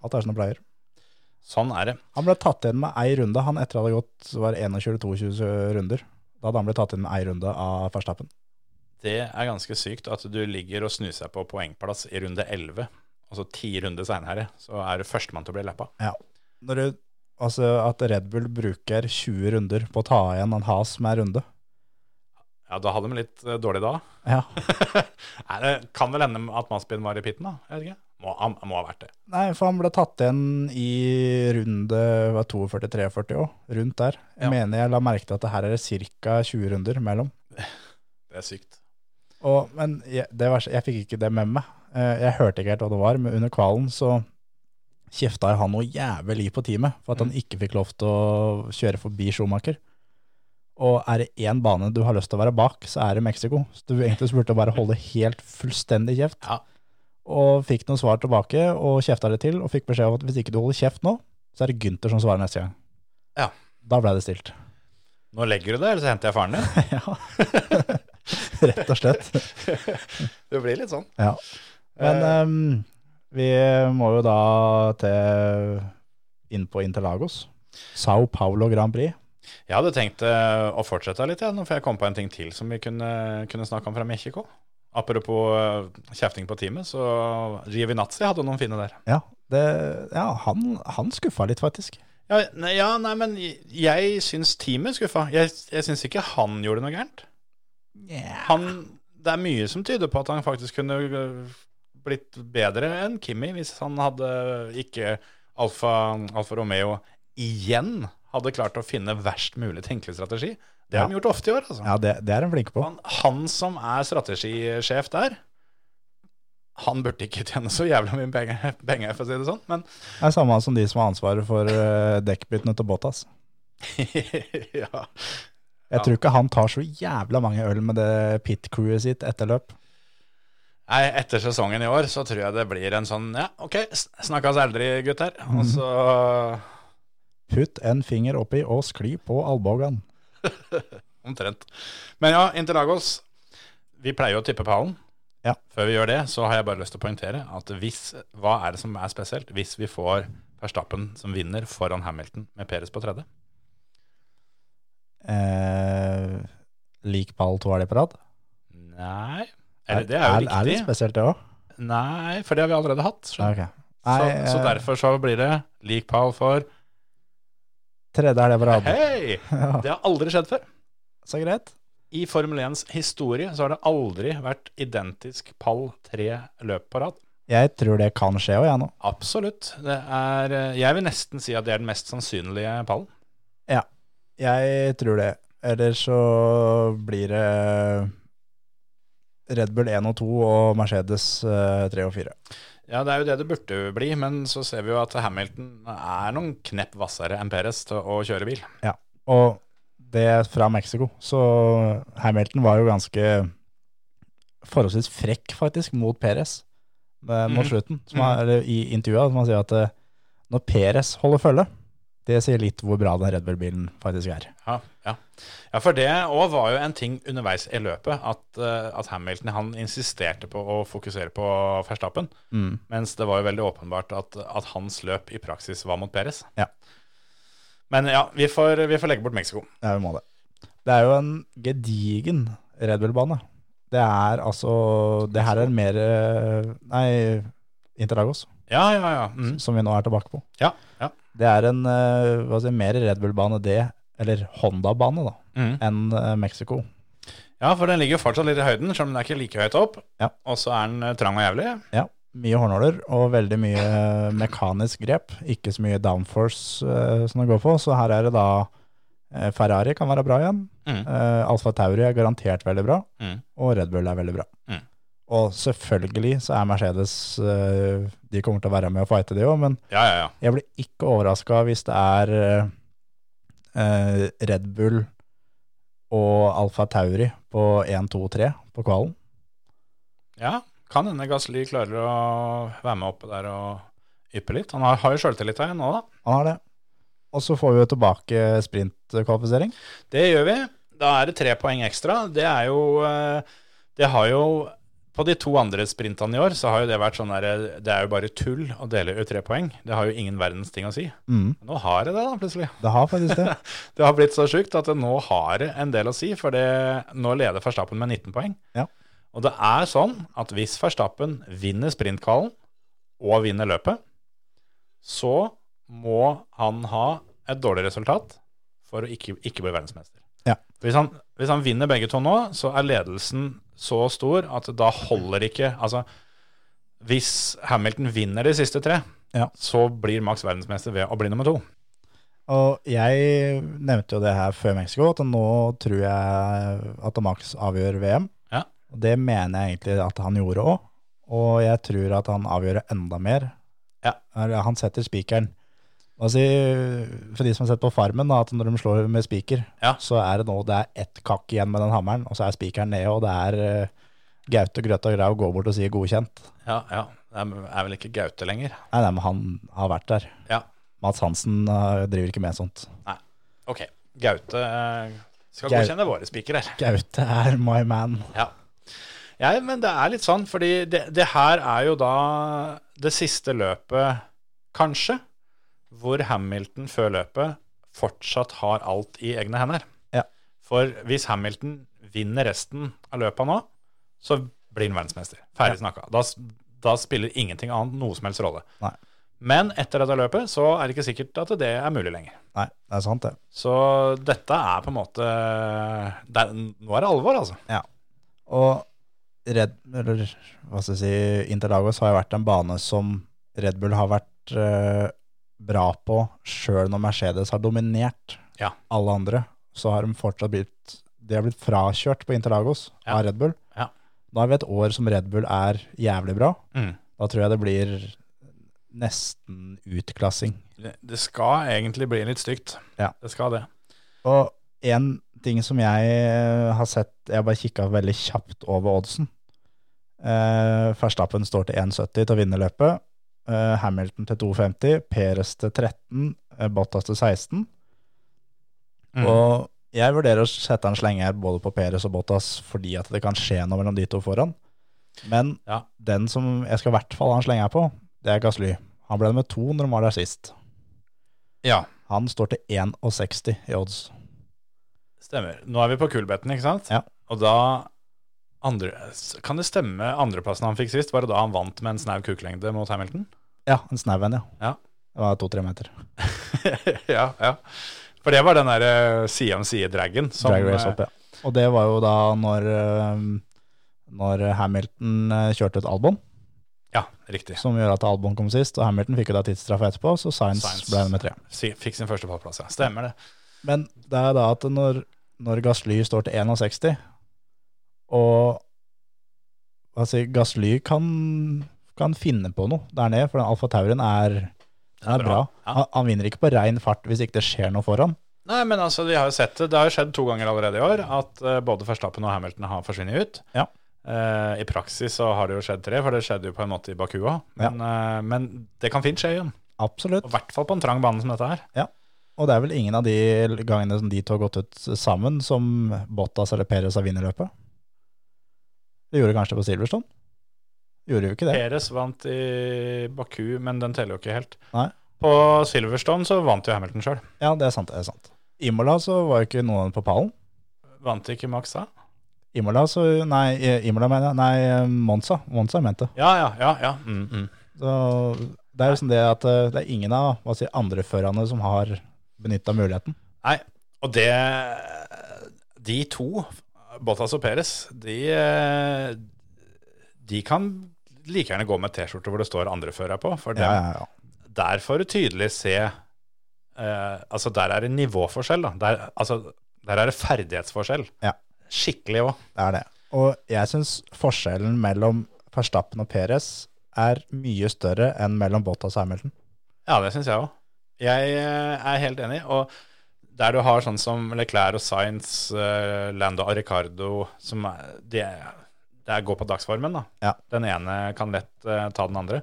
D: alt er som det pleier.
A: Sånn er det.
D: Han ble tatt igjen med ei runde, han etter at det hadde gått var 21-22 runder. Da hadde han blitt tatt igjen med ei runde av Verstappen.
A: Det er ganske sykt at du ligger og snuser på poengplass i runde elleve. Altså ti runder seinere, så er du førstemann til å bli lappa.
D: Ja. Når du, altså at Red Bull bruker 20 runder på å ta igjen en has med ei runde.
A: Ja, da hadde de litt eh, dårlig da.
D: Ja.
A: Nei, det kan vel hende at Mazepin var i pitten, da. Jeg vet ikke. Må, han må ha vært det.
D: Nei, for han ble tatt igjen i runde 42-43 òg, rundt der. Jeg
A: Ja.
D: mener jeg la merke til at det her er ca. 20 runder mellom.
A: Det er sykt.
D: Og, men jeg, det var, jeg fikk ikke det med meg. Eh, Jeg hørte ikke helt hva det var, men under kvalen så kjefta jeg han noe jævlig på teamet for
A: Mm.
D: at han ikke fikk lov til å kjøre forbi Schumacher. Og er det én bane du har lyst til å være bak, så er det Mexico. Så du egentlig så burde du bare holde helt fullstendig kjeft.
A: Ja.
D: Og fikk noen svar tilbake, og kjefta det til, og fikk beskjed om at hvis ikke du holder kjeft nå, så er det Gunther som svarer neste gang.
A: Ja.
D: Da ble det stilt.
A: Nå legger du det, eller så henter jeg faren din.
D: ja. Rett og slett.
A: Det blir litt sånn.
D: Ja. Men
A: Eh.
D: ehm, vi må jo da til inn på Interlagos. Sao Paulo Grand Prix.
A: Jeg hadde tenkt eh, å fortsette litt, jeg, nå, for jeg kom på en ting til som vi kunne, kunne snakke om fra Mexico. Apropos eh, kjefting på teamet, så Giovinazzi hadde noen fine der.
D: Ja, det, ja han, han skuffa litt, faktisk.
A: Ja, nei, ja, nei men jeg syns teamet skuffa. Jeg, jeg syns ikke han gjorde noe gærent. Han, det er mye som tyder på at han faktisk kunne øh, blitt bedre enn Kimi hvis han hadde ikke Alfa, Alfa Romeo igjen hadde klart å finne verst mulig tenkelig strategi. Det har de gjort ofte i år, altså.
D: Ja, det, det er han flink på.
A: Han, han som er strategisjef der, han burde ikke tjene så jævlig mye penger, penger for å si det sånn, men
D: Det er samme som de som har ansvaret for eh, dekkbyttene til Bottas.
A: ja.
D: Jeg
A: Ja.
D: tror ikke han tar så jævla mange øl med det pit-crewet sitt etter løp.
A: Nei, etter sesongen i år så tror jeg det blir en sånn Ja, ok, s- snakkes aldri, gutter. Og så
D: Putt en finger oppi og skli på albuen.
A: omtrent. Men ja, Interlagos. Vi pleier jo å tippe pallen.
D: Ja.
A: Før vi gjør det, så har jeg bare lyst til å poengtere at hvis Hva er det som er spesielt hvis vi får Verstappen som vinner foran Hamilton med Peres på tredje?
D: Eh, lik pall to er det på rad.
A: Nei. Eller det er jo
D: Er litt
A: riktig.
D: spesielt, det òg.
A: Nei, for det har vi allerede hatt. skjønner du. Så,
D: Nei,
A: så
D: eh,
A: derfor så blir det lik pall for
D: Tredje er det på rad.
A: Hei!
D: Ja.
A: Det har aldri skjedd før.
D: Så greit.
A: I Formel 1s historie så har det aldri vært identisk pall tre løp på rad.
D: Jeg tror det kan skje òg, jeg nå.
A: Absolutt. Det er, eh, jeg vil nesten si at det er den mest sannsynlige pallen.
D: Jeg tror det. Eller så blir det Red Bull 1 og 2 og Mercedes eh, 3 og 4.
A: Ja, det er jo det det burde bli, men så ser vi jo at Hamilton er noen knepp hvassere enn Perez til å kjøre bil.
D: Ja, og det er fra Mexico. Så Hamilton var jo ganske forholdsvis frekk faktisk mot Perez eh, mot
A: Mhm.
D: slutten. Som er, eller I intervjuet som han sier at eh, når Perez holder følge, det sier litt hvor bra den Red Bull-bilen faktisk er.
A: Ja, ja. ja for det òg var jo en ting underveis i løpet, at, eh, at Hamilton han insisterte på å fokusere på Verstappen. Mens det var jo veldig åpenbart at, at hans løp i praksis var mot Perez.
D: Ja.
A: Men ja, vi får, vi får legge bort Mexico.
D: Ja, vi må det. Det er jo en gedigen Red Bull-bane. Det er altså Det her er mer eh, Nei, Interlagos,
A: Ja, ja, ja. Mm.
D: som vi nå er tilbake på.
A: Ja, ja.
D: Det er en eh, hva skal jeg si, mer Red Bull-bane det, eller Honda-bane da,
A: Mm.
D: enn eh, Mexico.
A: ja, for den ligger jo fortsatt litt i høyden, selv om den er ikke like høyt opp.
D: Ja.
A: Og så er den eh, trang og jævlig.
D: Ja, mye hårnåler og veldig mye mekanisk grep. Ikke så mye downforce eh, som det går på, så her er det da eh, Ferrari kan være bra igjen.
A: Mm.
D: eh, Alfa Tauri er garantert veldig bra,
A: Mm.
D: og Red Bull er veldig bra.
A: Mm.
D: Og selvfølgelig så er Mercedes eh, De kommer til å være med og fighte, de òg, men
A: Ja, ja, ja.
D: Jeg blir ikke overraska hvis det er eh, Red Bull og Alfa Tauri på 1, 2, 3 på kvalen.
A: ja. Kan hende Gasly klarer å være med oppe der og yppe litt. Han har, har jo sjøltillit her nå, da.
D: Han har det. Og så får vi jo tilbake sprintkvalifisering.
A: Det gjør vi. Da er det tre poeng ekstra. Det er jo eh, Det har jo På de to andre sprintene i år så har jo det vært sånn der Det er jo bare tull å dele ut tre poeng. Det har jo ingen verdens ting å si.
D: Mm,
A: Nå har det det, da, plutselig.
D: det har faktisk det.
A: Det har blitt så sjukt at det nå har det en del å si, for det, nå leder Verstappen med 19 poeng.
D: Ja.
A: Og det er sånn at hvis Verstappen vinner sprintkvalen og vinner løpet, så må han ha et dårlig resultat for å ikke, ikke bli verdensmester.
D: Ja.
A: Hvis, han, hvis han vinner begge to nå, så er ledelsen så stor at da holder ikke Altså, hvis Hamilton vinner de siste tre,
D: Ja.
A: så blir Max verdensmester ved å bli nummer to.
D: Og jeg nevnte jo det her før Mexico, at nå tror jeg at Max avgjør VM.
A: Ja.
D: Og det mener jeg egentlig at han gjorde òg, og jeg tror at han avgjør enda mer.
A: Ja.
D: Eller, Han setter spikeren. Altså, for de som har sett på Farmen, da, at når de slår med spiker,
A: Ja.
D: så er det nå det er ett kakk igjen med den hammeren, og så er spikeren nede, og det er uh, Gaute, Grøtta og Grau går bort og sier godkjent.
A: Ja, ja. Det er- er vel ikke Gaute lenger.
D: Nei, nei, men han har vært der.
A: Ja,
D: Mats Hansen eh, driver ikke med sånt.
A: nei. Ok. Gaute eh, skal
D: Gau-
A: godkjenne våre spikere.
D: Gaute er my man.
A: Ja. ja, men det er litt sånn, fordi det, det her er jo da det siste løpet, kanskje, hvor Hamilton før løpet fortsatt har alt i egne hender.
D: Ja.
A: For hvis Hamilton vinner resten av løpet nå, så blir han verdensmester. Ferdig snakka. Da, s- da spiller ingenting annet noe som helst rolle.
D: Nei.
A: Men etter dette løpet så er det ikke sikkert at det er mulig lenger.
D: Nei, det er sant det.
A: Så dette er på en måte det er, Nå er det alvor, altså.
D: Ja. Og Red, eller, hva skal jeg si, Interlagos har jo vært en bane som Red Bull har vært eh, bra på, sjøl når Mercedes har dominert
A: Ja.
D: alle andre. Så har de fortsatt blitt De har blitt frakjørt på Interlagos
A: Ja.
D: av Red Bull.
A: Ja.
D: Nå har vi et år som Red Bull er jævlig bra.
A: Mm.
D: Da tror jeg det blir nesten utklassing.
A: Det- Det skal egentlig bli litt stygt.
D: Ja.
A: Det skal det.
D: Og en ting som jeg eh, har sett, jeg har bare kikka veldig kjapt over oddsen. Eh, Verstappen står til 1,70 til å vinne løpet. Eh, Hamilton til 2,50. Perez til 13. Eh, Bottas til 16.
A: Mm.
D: Og jeg vurderer å sette en slenge her både på Perez og Bottas fordi at det kan skje noe mellom de to foran. Men
A: Ja.
D: den som jeg skal i hvert fall ha en slenge her på, det er Gasly. Han ble nummer to når han var der sist.
A: Ja,
D: Han står til 1,60 i odds.
A: stemmer. Nå er vi på kulbetten, ikke sant?
D: Ja.
A: Og da andre, Kan det stemme andreplassen han fikk sist? Var det da han vant med en snau kuklengde mot Hamilton?
D: Ja, en snau en, ja.
A: Ja.
D: Det var to-tre meter.
A: ja, ja. For det var den der eh, side om side-dragen. som,
D: Drag race
A: eh,
D: opp, ja. Og det var jo da når, eh, når Hamilton eh, kjørte ut Albon,
A: Ja, riktig.
D: som gjør at Albon kom sist, og Hamilton fikk jo da tidsstraff etterpå, så Sainz
A: Sainz.
D: ble nummer tre.
A: Si- Fikk sin første pallplass, ja. Stemmer det.
D: Men det er da at når, når Gasly står til 61, og altså, Gasly kan, kan finne på noe der nede, for den Alfa Taurien er, den er bra. Han, han vinner ikke på rein fart hvis ikke det skjer noe foran.
A: Nei, men altså, vi har jo sett det. Det har jo skjedd to ganger allerede i år at eh, både Verstappen og Hamilton har forsvunnet ut.
D: Ja.
A: Eh, I praksis så har det jo skjedd tre, for det skjedde jo på en måte i Baku òg.
D: Ja.
A: Men, eh, men det kan fint skje igjen.
D: Absolutt.
A: Og I hvert fall på en trang bane som dette her.
D: Og det er vel ingen av de gangene som de to har gått ut sammen, som Bottas eller Perez har vunnet løpet? Det gjorde kanskje på Silverstone? Gjorde jo ikke det.
A: Perez vant i Baku, men den teller jo ikke helt.
D: Nei.
A: På Silverstone så vant jo Hamilton sjøl.
D: Ja, det er sant. det er sant. Imola så var jo ikke noen av dem på pallen.
A: Vant ikke Max da?
D: Imola, så, nei, eh, Imola mener jeg. Nei, Monza. Monza jeg mente.
A: Ja, ja, ja. ja. Mm, mm.
D: Så det er jo sånn det at eh, det er ingen av hva si, andreførerne som har benytta muligheten.
A: Nei, og det De to, Bottas og Perez, de, eh, de kan like gjerne gå med T-skjorte hvor det står andrefører på, for dem,
D: Ja, ja, ja.
A: der får du tydelig se eh, Altså, der er det nivåforskjell, da. Der, altså, der er det ferdighetsforskjell.
D: Ja.
A: Skikkelig òg.
D: Det er det. Og jeg syns forskjellen mellom Verstappen og Perez er mye større enn mellom Bottas og Hamilton.
A: Ja, det syns jeg òg. Jeg eh, er helt enig. Og der du har sånn som Leclerc og Sainz, eh, Lando og Ricardo som er, de, er- Det er gå på dagsformen, da.
D: Ja.
A: Den ene kan lett eh, ta den andre.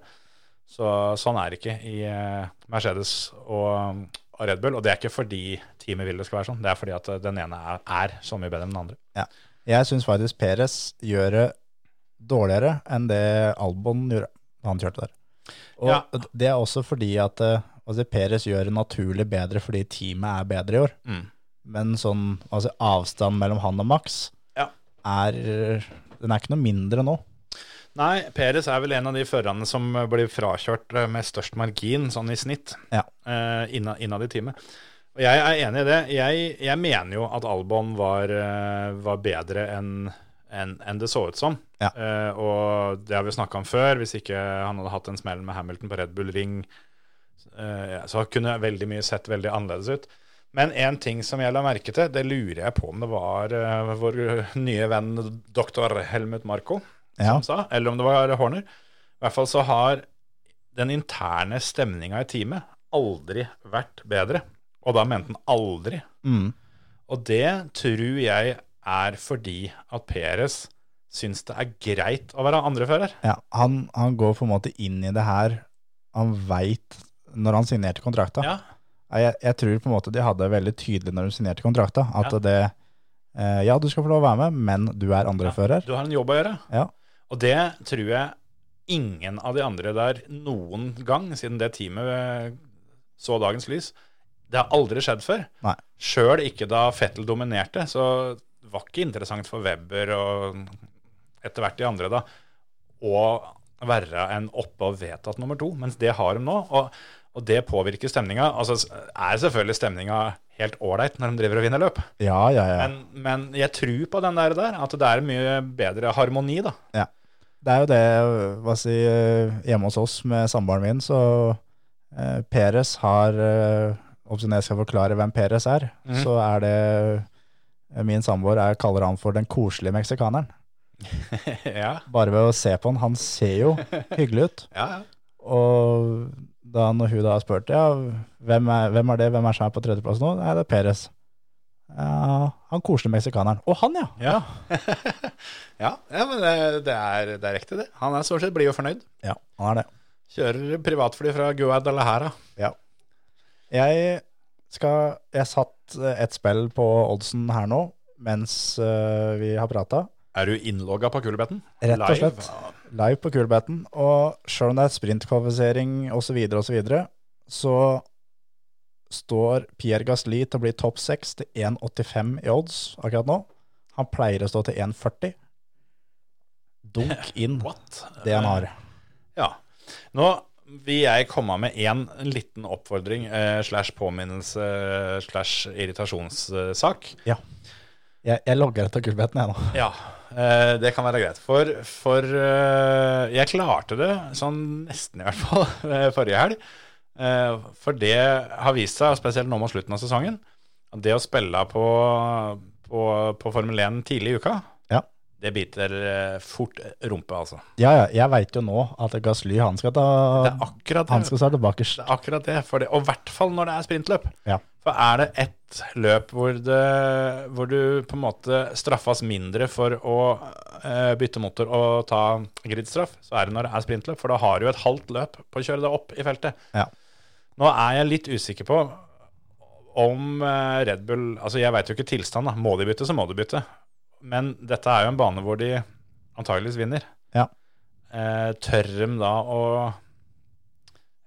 A: Så sånn er det ikke i eh, Mercedes og, og Red Bull. Og det er ikke fordi teamet vil det skal være sånn, det er fordi at eh, den ene er, er så mye bedre enn den andre.
D: Jeg syns faktisk Perez gjør det dårligere enn det Albon gjorde da han kjørte der. Og
A: Ja.
D: det er også fordi at eh, altså Perez gjør det naturlig bedre fordi teamet er bedre i år.
A: Mm.
D: Men sånn altså avstand mellom han og Max
A: Ja.
D: er Den er ikke noe mindre nå.
A: Nei, Peres er vel en av de førerne som blir frakjørt eh, med størst margin, sånn i snitt,
D: Ja.
A: eh, inna- innad i teamet. Og jeg er enig i det. Jeg, jeg mener jo at Albon var, eh, var bedre enn enn- enn det så ut som.
D: Ja.
A: Eh, og det har vi snakka om før. Hvis ikke han hadde hatt en smell med Hamilton på Red Bull Ring, eh, så kunne veldig mye sett veldig annerledes ut. Men en ting som jeg la merke til, det lurer jeg på om det var eh, vår nye venn doktor Helmut Marko
D: Ja.
A: som sa, eller om det var Horner. I hvert fall så har den interne stemninga i teamet aldri vært bedre. Og da mente han aldri.
D: Mm.
A: Og det tror jeg er fordi at Peres syns det er greit å være andrefører.
D: Ja, han, han går på en måte inn i det her. Han veit når han signerte kontrakta.
A: Ja.
D: Nei, Jeg, jeg tror på en måte de hadde det veldig tydelig når de signerte kontrakta, at
A: Ja.
D: det eh, Ja, du skal få lov å være med, men du er andrefører.
A: Du har en jobb å gjøre.
D: Ja.
A: Og det tror jeg ingen av de andre der noen gang, siden det teamet eh, så dagens lys, det har aldri skjedd før.
D: Nei.
A: Sjøl ikke da Fettel dominerte, så var ikke interessant for Webber og etter hvert de andre da, å være en oppe og vedtatt nummer to, mens det har de nå. Og, og det påvirker stemninga. Altså er selvfølgelig stemninga helt ålreit når de driver og vinner løp.
D: Ja, ja, ja.
A: Men, men jeg tror på den der, der, at det er mye bedre harmoni, da.
D: Det er jo det, hva si, eh, hjemme hos oss med samboeren min, så eh, Peres har eh, Om jeg skal forklare hvem Peres er,
A: Mhm.
D: så er det eh, Min samboer er, kaller han for den koselige meksikaneren.
A: ja.
D: Bare ved å se på han. Han ser jo hyggelig ut.
A: Ja, ja.
D: Og da når hun da har spurt ja, hvem er, hvem er det, hvem er som er på tredjeplass nå? Nei, det er Perez. Ja, han koselige meksikaneren. Å, han ja!
A: Ja, ja, men det, det, er, det er riktig, det. Han er stort sett blid og fornøyd.
D: Ja, han er det.
A: Kjører privatfly fra Guadalajara.
D: Jeg skal Jeg satt eh, et spill på oddsen her nå mens eh, vi har prata,
A: Er du innlogga på Kulebeten?
D: Rett og
A: Live?
D: slett. live på Kulbeten. Og sjøl om det er sprintkvalifisering osv., osv., så, så står Pierre Gasli til å bli topp seks til 1,85 i odds akkurat nå. Han pleier å stå til 1,40. Dunk inn
A: What?
D: det han har.
A: Ja. Nå vil jeg komme med en liten oppfordring eh, slash påminnelse eh, slash irritasjonssak.
D: Ja. Jeg, jeg logger etter gullbeten, jeg nå.
A: Ja, eh, det kan være greit. For, for eh, jeg klarte det, sånn nesten i hvert fall, eh, forrige helg. Eh, For det har vist seg, spesielt nå mot slutten av sesongen, at det å spille på, på, på Formel 1 tidlig i uka,
D: Ja.
A: Det biter eh, fort rumpe, altså.
D: Ja, ja, jeg veit jo nå at Gasly han skal ta
A: Det er akkurat
D: Han
A: det.
D: skal starte bakerst.
A: Det er akkurat det. For det og i hvert fall når det er sprintløp.
D: Ja.
A: For er det ett løp hvor, det, hvor du på en måte straffes mindre for å eh, bytte motor og ta gridstraff, så er det når det er sprintløp. For da har du et halvt løp på å kjøre deg opp i feltet.
D: Ja.
A: Nå er jeg litt usikker på om eh, Red Bull Altså, jeg veit jo ikke tilstand, da. Må de bytte, så må de bytte. Men dette er jo en bane hvor de antageligvis vinner.
D: Ja.
A: Eh, tør de da å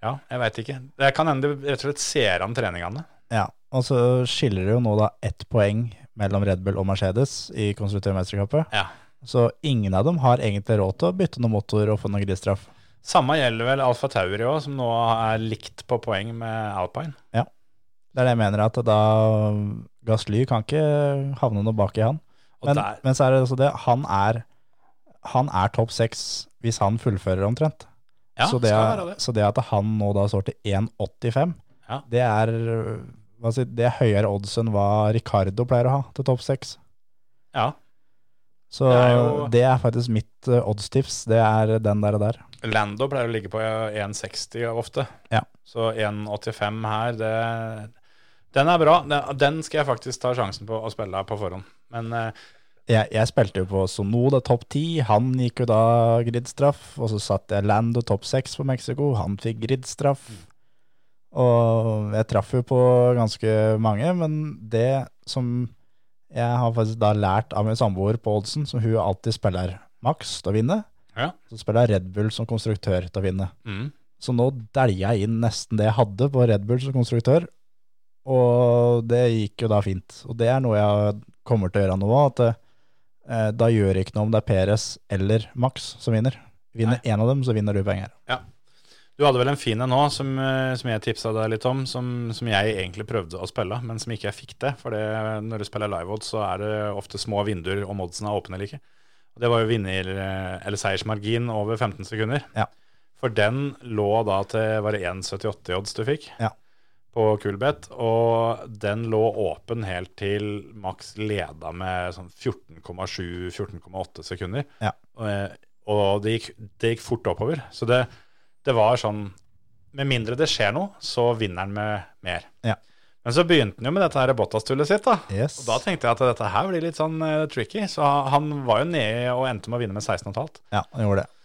A: Ja, jeg veit ikke. Det kan hende de rett og slett ser an treningene.
D: Ja, og så skiller det jo nå da ett poeng mellom Red Bull og Mercedes i konstruktørmesterskapet.
A: Ja.
D: Så ingen av dem har egentlig råd til å bytte noen motor og få noen grisstraff.
A: Samme gjelder vel Alfa Tauri òg, som nå er likt på poeng med Alpine.
D: Det er det jeg mener, at da Gasly kan ikke havne noe bak i han.
A: Og
D: Men,
A: der,
D: men så er det også det, han er, han er topp seks hvis han fullfører omtrent.
A: ja,
D: så, det
A: skal
D: er,
A: være det.
D: så det at han nå da står til 1,85,
A: Ja.
D: det er hva si, det er høyere odds enn hva Ricardo pleier å ha til topp seks.
A: Ja.
D: Så
A: Det
D: det
A: er
D: er,
A: jo-
D: faktisk mitt eh, oddstips. Det er den der og der.
A: Lando pleier å ligge på 1,60 ofte.
D: Ja.
A: Så 1,85 her, det, den er bra. Den- Den skal jeg faktisk ta sjansen på å spille på forhånd. Men eh,
D: Jeg, jeg spilte jo på Sonoda topp ti, han gikk jo da gridstraff. Og så satt jeg Lando topp seks på Mexico, han fikk gridstraff.
A: Mm.
D: Og jeg traff jo på ganske mange, men det som jeg har faktisk da lært av min samboer på oddsen, som hun alltid spiller maks til å vinne,
A: Ja.
D: så spiller jeg Red Bull som konstruktør til å vinne.
A: mm,
D: Så nå dælja jeg inn nesten det jeg hadde på Red Bull som konstruktør, og det gikk jo da fint. Og det er noe jeg kommer til å gjøre nå, at eh, da gjør det ikke noe om det er Peres eller Max som vinner. Vinner én av dem, så vinner du penger.
A: Du hadde vel en fin en òg, som, eh, som jeg tipsa deg litt om, som, som jeg egentlig prøvde å spille, men som ikke jeg fikk til. For det, når du spiller live odds, så er det ofte små vinduer om oddsen er åpne eller ikke. Og Det var jo vinner, eh, eller seiersmargin over 15 sekunder.
D: Ja.
A: For den lå da til var det 1,78 i odds du fikk
D: Ja.
A: på Coolbet, og den lå åpen helt til Max leda med sånn 14,7-14,8 sekunder.
D: Ja.
A: Og, eh, og det, gikk, det gikk fort oppover. Så det, det var sånn Med mindre det skjer noe, så vinner han med mer.
D: Ja.
A: Men så begynte han jo med dette her Bottas-tullet sitt, da.
D: Yes.
A: Og da tenkte jeg at dette her blir litt sånn eh, tricky, så han var jo nede og endte med å vinne med 16,5.
D: Ja, han gjorde det.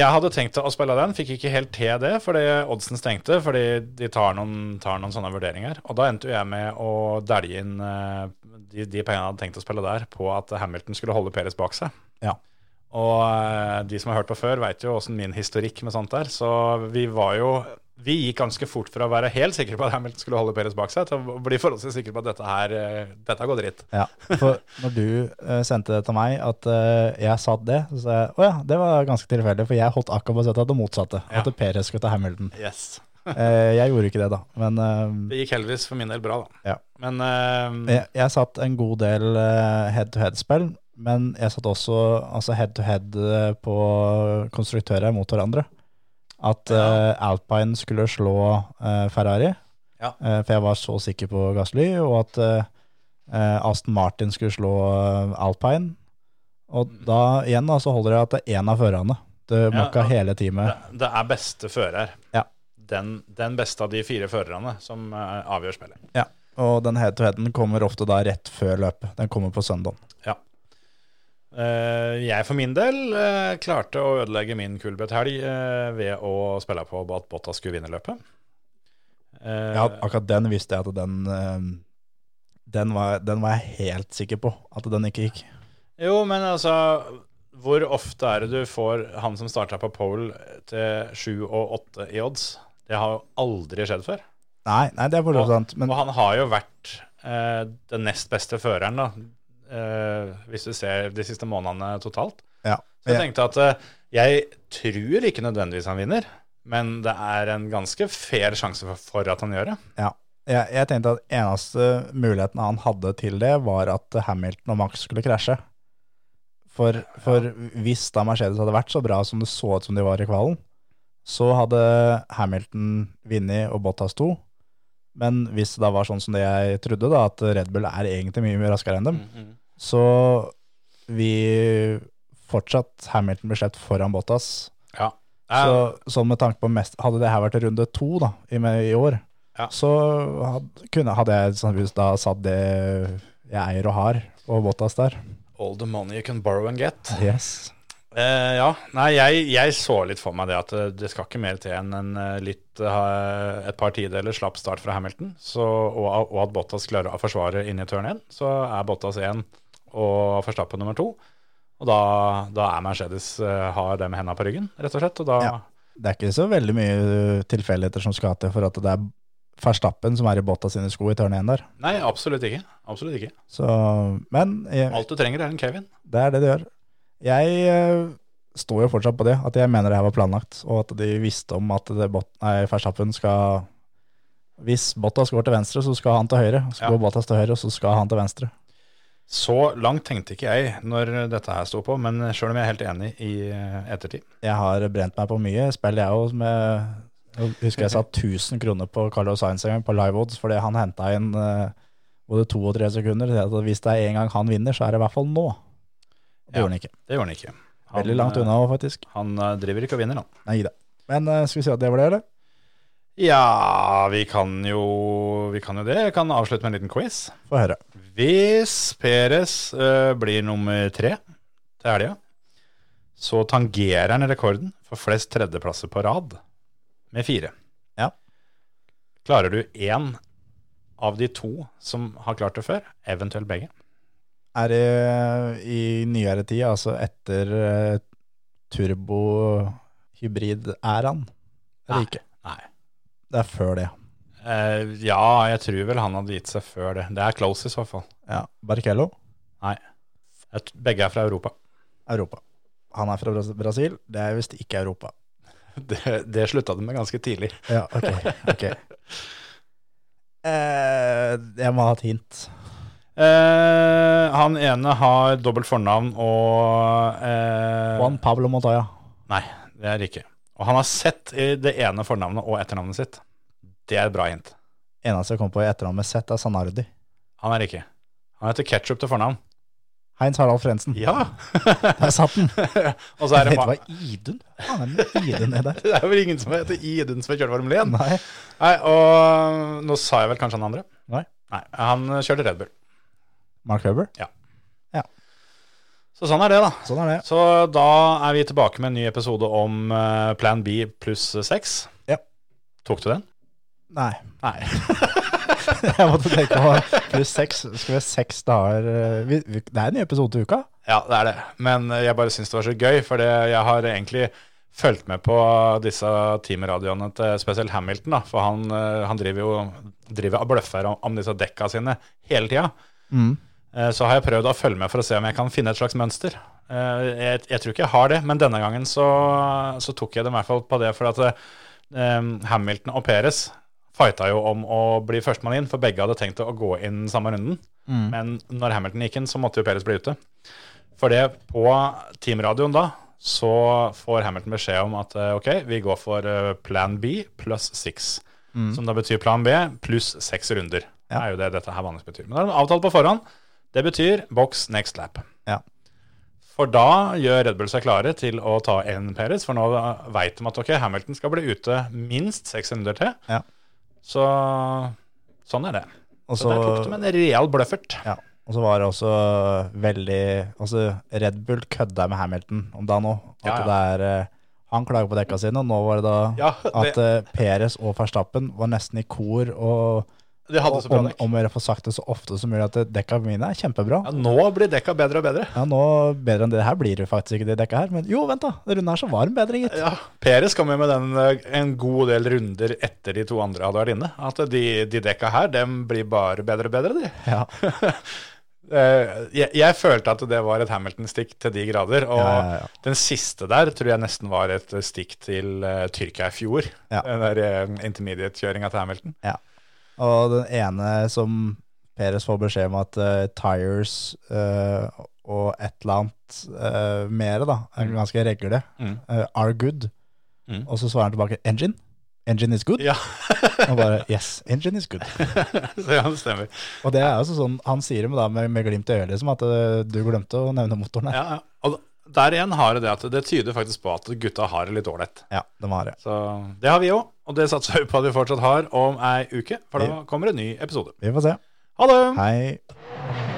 A: Jeg hadde tenkt å spille den, fikk ikke helt til det fordi oddsen stengte, fordi de tar noen, tar noen sånne vurderinger. Og da endte jo jeg med å dælje inn eh, de, de pengene jeg hadde tenkt å spille der, på at Hamilton skulle holde Peres bak seg.
D: Ja.
A: Og eh, de som har hørt på før, veit jo åssen min historikk med sånt er. Så vi var jo Vi gikk ganske fort fra å være helt sikre på at Hamilton skulle holde Peres bak seg, til å bli forholdsvis sikre på at dette her eh, Dette går dritt.
D: Ja, for når du eh, sendte det til meg, at eh, jeg satt det, så sa jeg, åja, det var ganske tilfeldig, for jeg holdt akkurat på å sette det motsatte,
A: Ja.
D: at Peres skulle ta Hamilton.
A: Yes.
D: Eh, jeg gjorde ikke det da, men eh,
A: Det gikk heldigvis for min del bra, da.
D: Ja.
A: Men eh,
D: jeg, jeg satt en god del eh, head-to-head-spill, men jeg satt også altså head-to-head eh, på konstruktører mot hverandre. At eh, Alpine skulle slå eh, Ferrari,
A: Ja.
D: eh, for jeg var så sikker på Gasly, og at eh, eh, Aston Martin skulle slå eh, Alpine. Og da igjen da, så holder det at det er én av førerne. Det mokka
A: og-
D: hele teamet.
A: Det, det er beste fører.
D: Ja.
A: Den, den beste av de fire førerne som eh, avgjør spillet.
D: Og den head-to-headen kommer ofte da rett før løpet. Den kommer på søndag.
A: Eh, jeg for min del eh, klarte å ødelegge min kulbethelg eh, ved å spille på at Bottas skulle vinne løpet. Eh,
D: Ja, akkurat den visste jeg at den eh, den var, den var jeg helt sikker på at den ikke gikk.
A: Jo, men altså Hvor ofte er det du får han som starta på pole, eh, til sju og åtte i odds? Det har jo aldri skjedd før.
D: Nei, nei det er for så vidt sant, men
A: Og han har jo vært eh, den nest beste føreren, da. Eh, hvis du ser de siste månedene totalt.
D: ja.
A: Så jeg
D: jeg-
A: tenkte at eh, jeg tror ikke nødvendigvis han vinner, men det er en ganske fair sjanse for, for at han gjør det.
D: ja. Jeg, jeg tenkte at eneste muligheten han hadde til det, var at Hamilton og Max skulle krasje. For, for hvis da Mercedes hadde vært så bra som det så ut som de var i kvalen, så hadde Hamilton vunnet og Bottas to. Men hvis det da var sånn som det jeg trodde, da, at Red Bull er egentlig mye, mye raskere enn dem, så vi fortsatt Hamilton ble slett foran Bottas.
A: Ja.
D: Så, så med tanke på mest, Hadde det her vært runde to da, i, med- i år,
A: Ja.
D: så hadde, kunne, hadde jeg sannsynligvis da satt det jeg eier og har, på Bottas der.
A: All the money you can borrow and get.
D: Yes.
A: Eh, ja. Nei, jeg, jeg så litt for meg det at eh, det skal ikke mer til enn en, eh, litt, eh, et par tideler slapp start fra Hamilton, så, og, og at Bottas klarer å forsvare inn i turn 1. Så er Bottas 1 og Verstappen nummer 2. Og da, da er Mercedes eh, har dem henda på ryggen, rett og slett. Og da
D: Ja. Det er ikke så veldig mye tilfeldigheter som skal til for at det er Verstappen som er i Bottas sine sko i turn 1 der.
A: Nei, absolutt ikke. Absolutt ikke.
D: Så, men jeg,
A: Alt du trenger, er en Kevin.
D: Det er det de gjør. Jeg eh, står jo fortsatt på det, at jeg mener det her var planlagt, og at de visste om at det bot, nei, Verstappen skal Hvis Bottas går til venstre, så skal han til høyre. Så
A: Ja.
D: går Bottas til høyre, og så skal han til venstre.
A: Så langt tenkte ikke jeg når dette her sto på, men sjøl om jeg er helt enig i eh, ettertid.
D: Jeg har brent meg på mye spill, jeg òg, med jeg Husker jeg satt 1000 kroner på Carlos Sainz en gang, på live odds, fordi han henta inn eh, både to og tre sekunder. Så jeg- Hvis det er en gang han vinner, så er det i hvert fall nå. Det
A: Ja.
D: gjorde han ikke.
A: Det gjorde han ikke. Han,
D: Veldig langt
A: eh,
D: unna, faktisk.
A: Han eh, driver ikke og vinner, han.
D: Nei da. Men eh, skal vi si at det var det, eller?
A: Ja, vi kan jo, vi kan jo det. Jeg kan avslutte med en liten quiz.
D: Få høre.
A: Hvis Peres eh, blir nummer tre til helga, så tangerer han rekorden for flest tredjeplasser på rad med fire.
D: Ja.
A: Klarer du én av de to som har klart det før, eventuelt begge?
D: er det i nyere tid, altså etter eh, turbohybrid-æraen? Eller
A: Nei.
D: ikke?
A: Nei.
D: Det er før det.
A: Eh, ja, jeg tror vel han hadde gitt seg før det. Det er close i så fall.
D: Ja. Barkello,
A: Jeg t- Begge er fra Europa.
D: Europa. Han er fra Bras- Brasil, det er visst ikke Europa.
A: Det, det slutta de med ganske tidlig.
D: Ja, ok. ok. Eh, jeg må ha et hint.
A: Eh, han ene har dobbelt fornavn og eh,
D: Juan Pablo Montoya.
A: Nei, det er ikke. Og han har sett i det ene fornavnet og etternavnet sitt. Det er et bra hint.
D: Eneste jeg kom på i etternavnet sett, er Sanardi.
A: Han er ikke. Han heter Ketchup til fornavn.
D: Heinz Harald Frensen. Der satt den!
A: og så er det
D: Vet du hva
A: ma-
D: Idun? Faen, er det noe Idun i der?
A: Det er vel ingen som heter Idun som har kjørt Formel 1?
D: Nei.
A: Nei, og nå sa jeg vel kanskje han andre?
D: Nei.
A: Nei, Han kjørte Red Bull.
D: Mark Webber.
A: Så sånn er det, da.
D: Sånn er det.
A: Så da er vi tilbake med en ny episode om eh, Plan B pluss 6.
D: Ja.
A: Tok du den?
D: Nei.
A: Nei.
D: Jeg måtte tenke på pluss seks. Skal vi ha seks dager eh, vi, vi, Det er en ny episode til uka.
A: Ja, det er det. Men eh, jeg bare syns det var så gøy, for det- jeg har egentlig fulgt med på disse teamradioene til spesielt Hamilton, da, for han, eh, han driver jo driver og bløffer om, om disse dekka sine hele tida. Eh, Så har jeg prøvd å følge med for å se om jeg kan finne et slags mønster. Eh, Jeg, jeg tror ikke jeg har det, men denne gangen så, så tok jeg dem i hvert fall på det. For at eh, Hamilton og Perez fighta jo om å bli førstemann inn, for begge hadde tenkt å gå inn samme runden. Men når Hamilton gikk inn, så måtte jo Perez bli ute. For det på teamradioen da, så får Hamilton beskjed om at eh, ok, vi går for eh, plan B pluss six.
D: Mm.
A: Som da betyr plan B pluss seks runder. Det er jo det dette her vanligvis betyr. Men det er avtalt på forhånd. Det betyr box next lap.
D: Ja.
A: For da gjør Red Bull seg klare til å ta en Perez, for nå veit de at ok, Hamilton skal bli ute minst seks runder til.
D: Ja.
A: Så sånn er det.
D: Og
A: Så
D: så,
A: der tok de en real bløffert.
D: ja, og så var det også veldig Altså, Red Bull kødda med Hamilton om da nå. At
A: Ja, ja.
D: det er eh, Han klager på dekka sine, og nå var det da
A: Ja, det-
D: at eh, Perez og Verstappen var nesten i kor og
A: De hadde så bra
D: om,
A: dekk.
D: om å få sagt det så ofte som mulig at eh, dekka mine er kjempebra.
A: Ja, nå blir dekka bedre og bedre.
D: Ja, nå bedre enn det her blir det faktisk ikke det dekka her. Men jo, vent da, den runden her så var den bedre, gitt.
A: Ja, Peres kom jo med den eh, en god del runder etter de to andre hadde vært inne. At de, de dekka her, dem blir bare bedre og bedre, de.
D: Ja.
A: Eh, jeg, jeg følte at det var et Hamilton-stikk til de grader. Og
D: Ja, ja, ja.
A: den siste der tror jeg nesten var et eh, stikk til uh, Tyrkia i fjor.
D: Ja.
A: Den der eh, intermediate-kjøringa til Hamilton.
D: Og den ene som Peres får beskjed om at eh, tires eh, og et eller annet uh, mere, da, en ganske regle,
A: Mm.
D: eh, are good.
A: Mm.
D: Og så svarer han tilbake engine. engine is good.
A: Ja,
D: Og bare yes, engine is good.
A: så ja, det stemmer.
D: Og det er jo sånn, han sier det med, da, med, med glimt i øyet, liksom, at eh, du glemte å nevne motoren her.
A: Ja, ja. Og der igjen har det det at det tyder faktisk på at gutta har det litt ålreit.
D: Ja, det var det.
A: Så det har vi òg, og det satser vi på at vi fortsatt har om ei uke, for da kommer en ny episode.
D: Vi får se.
A: Ha det!
D: Hei.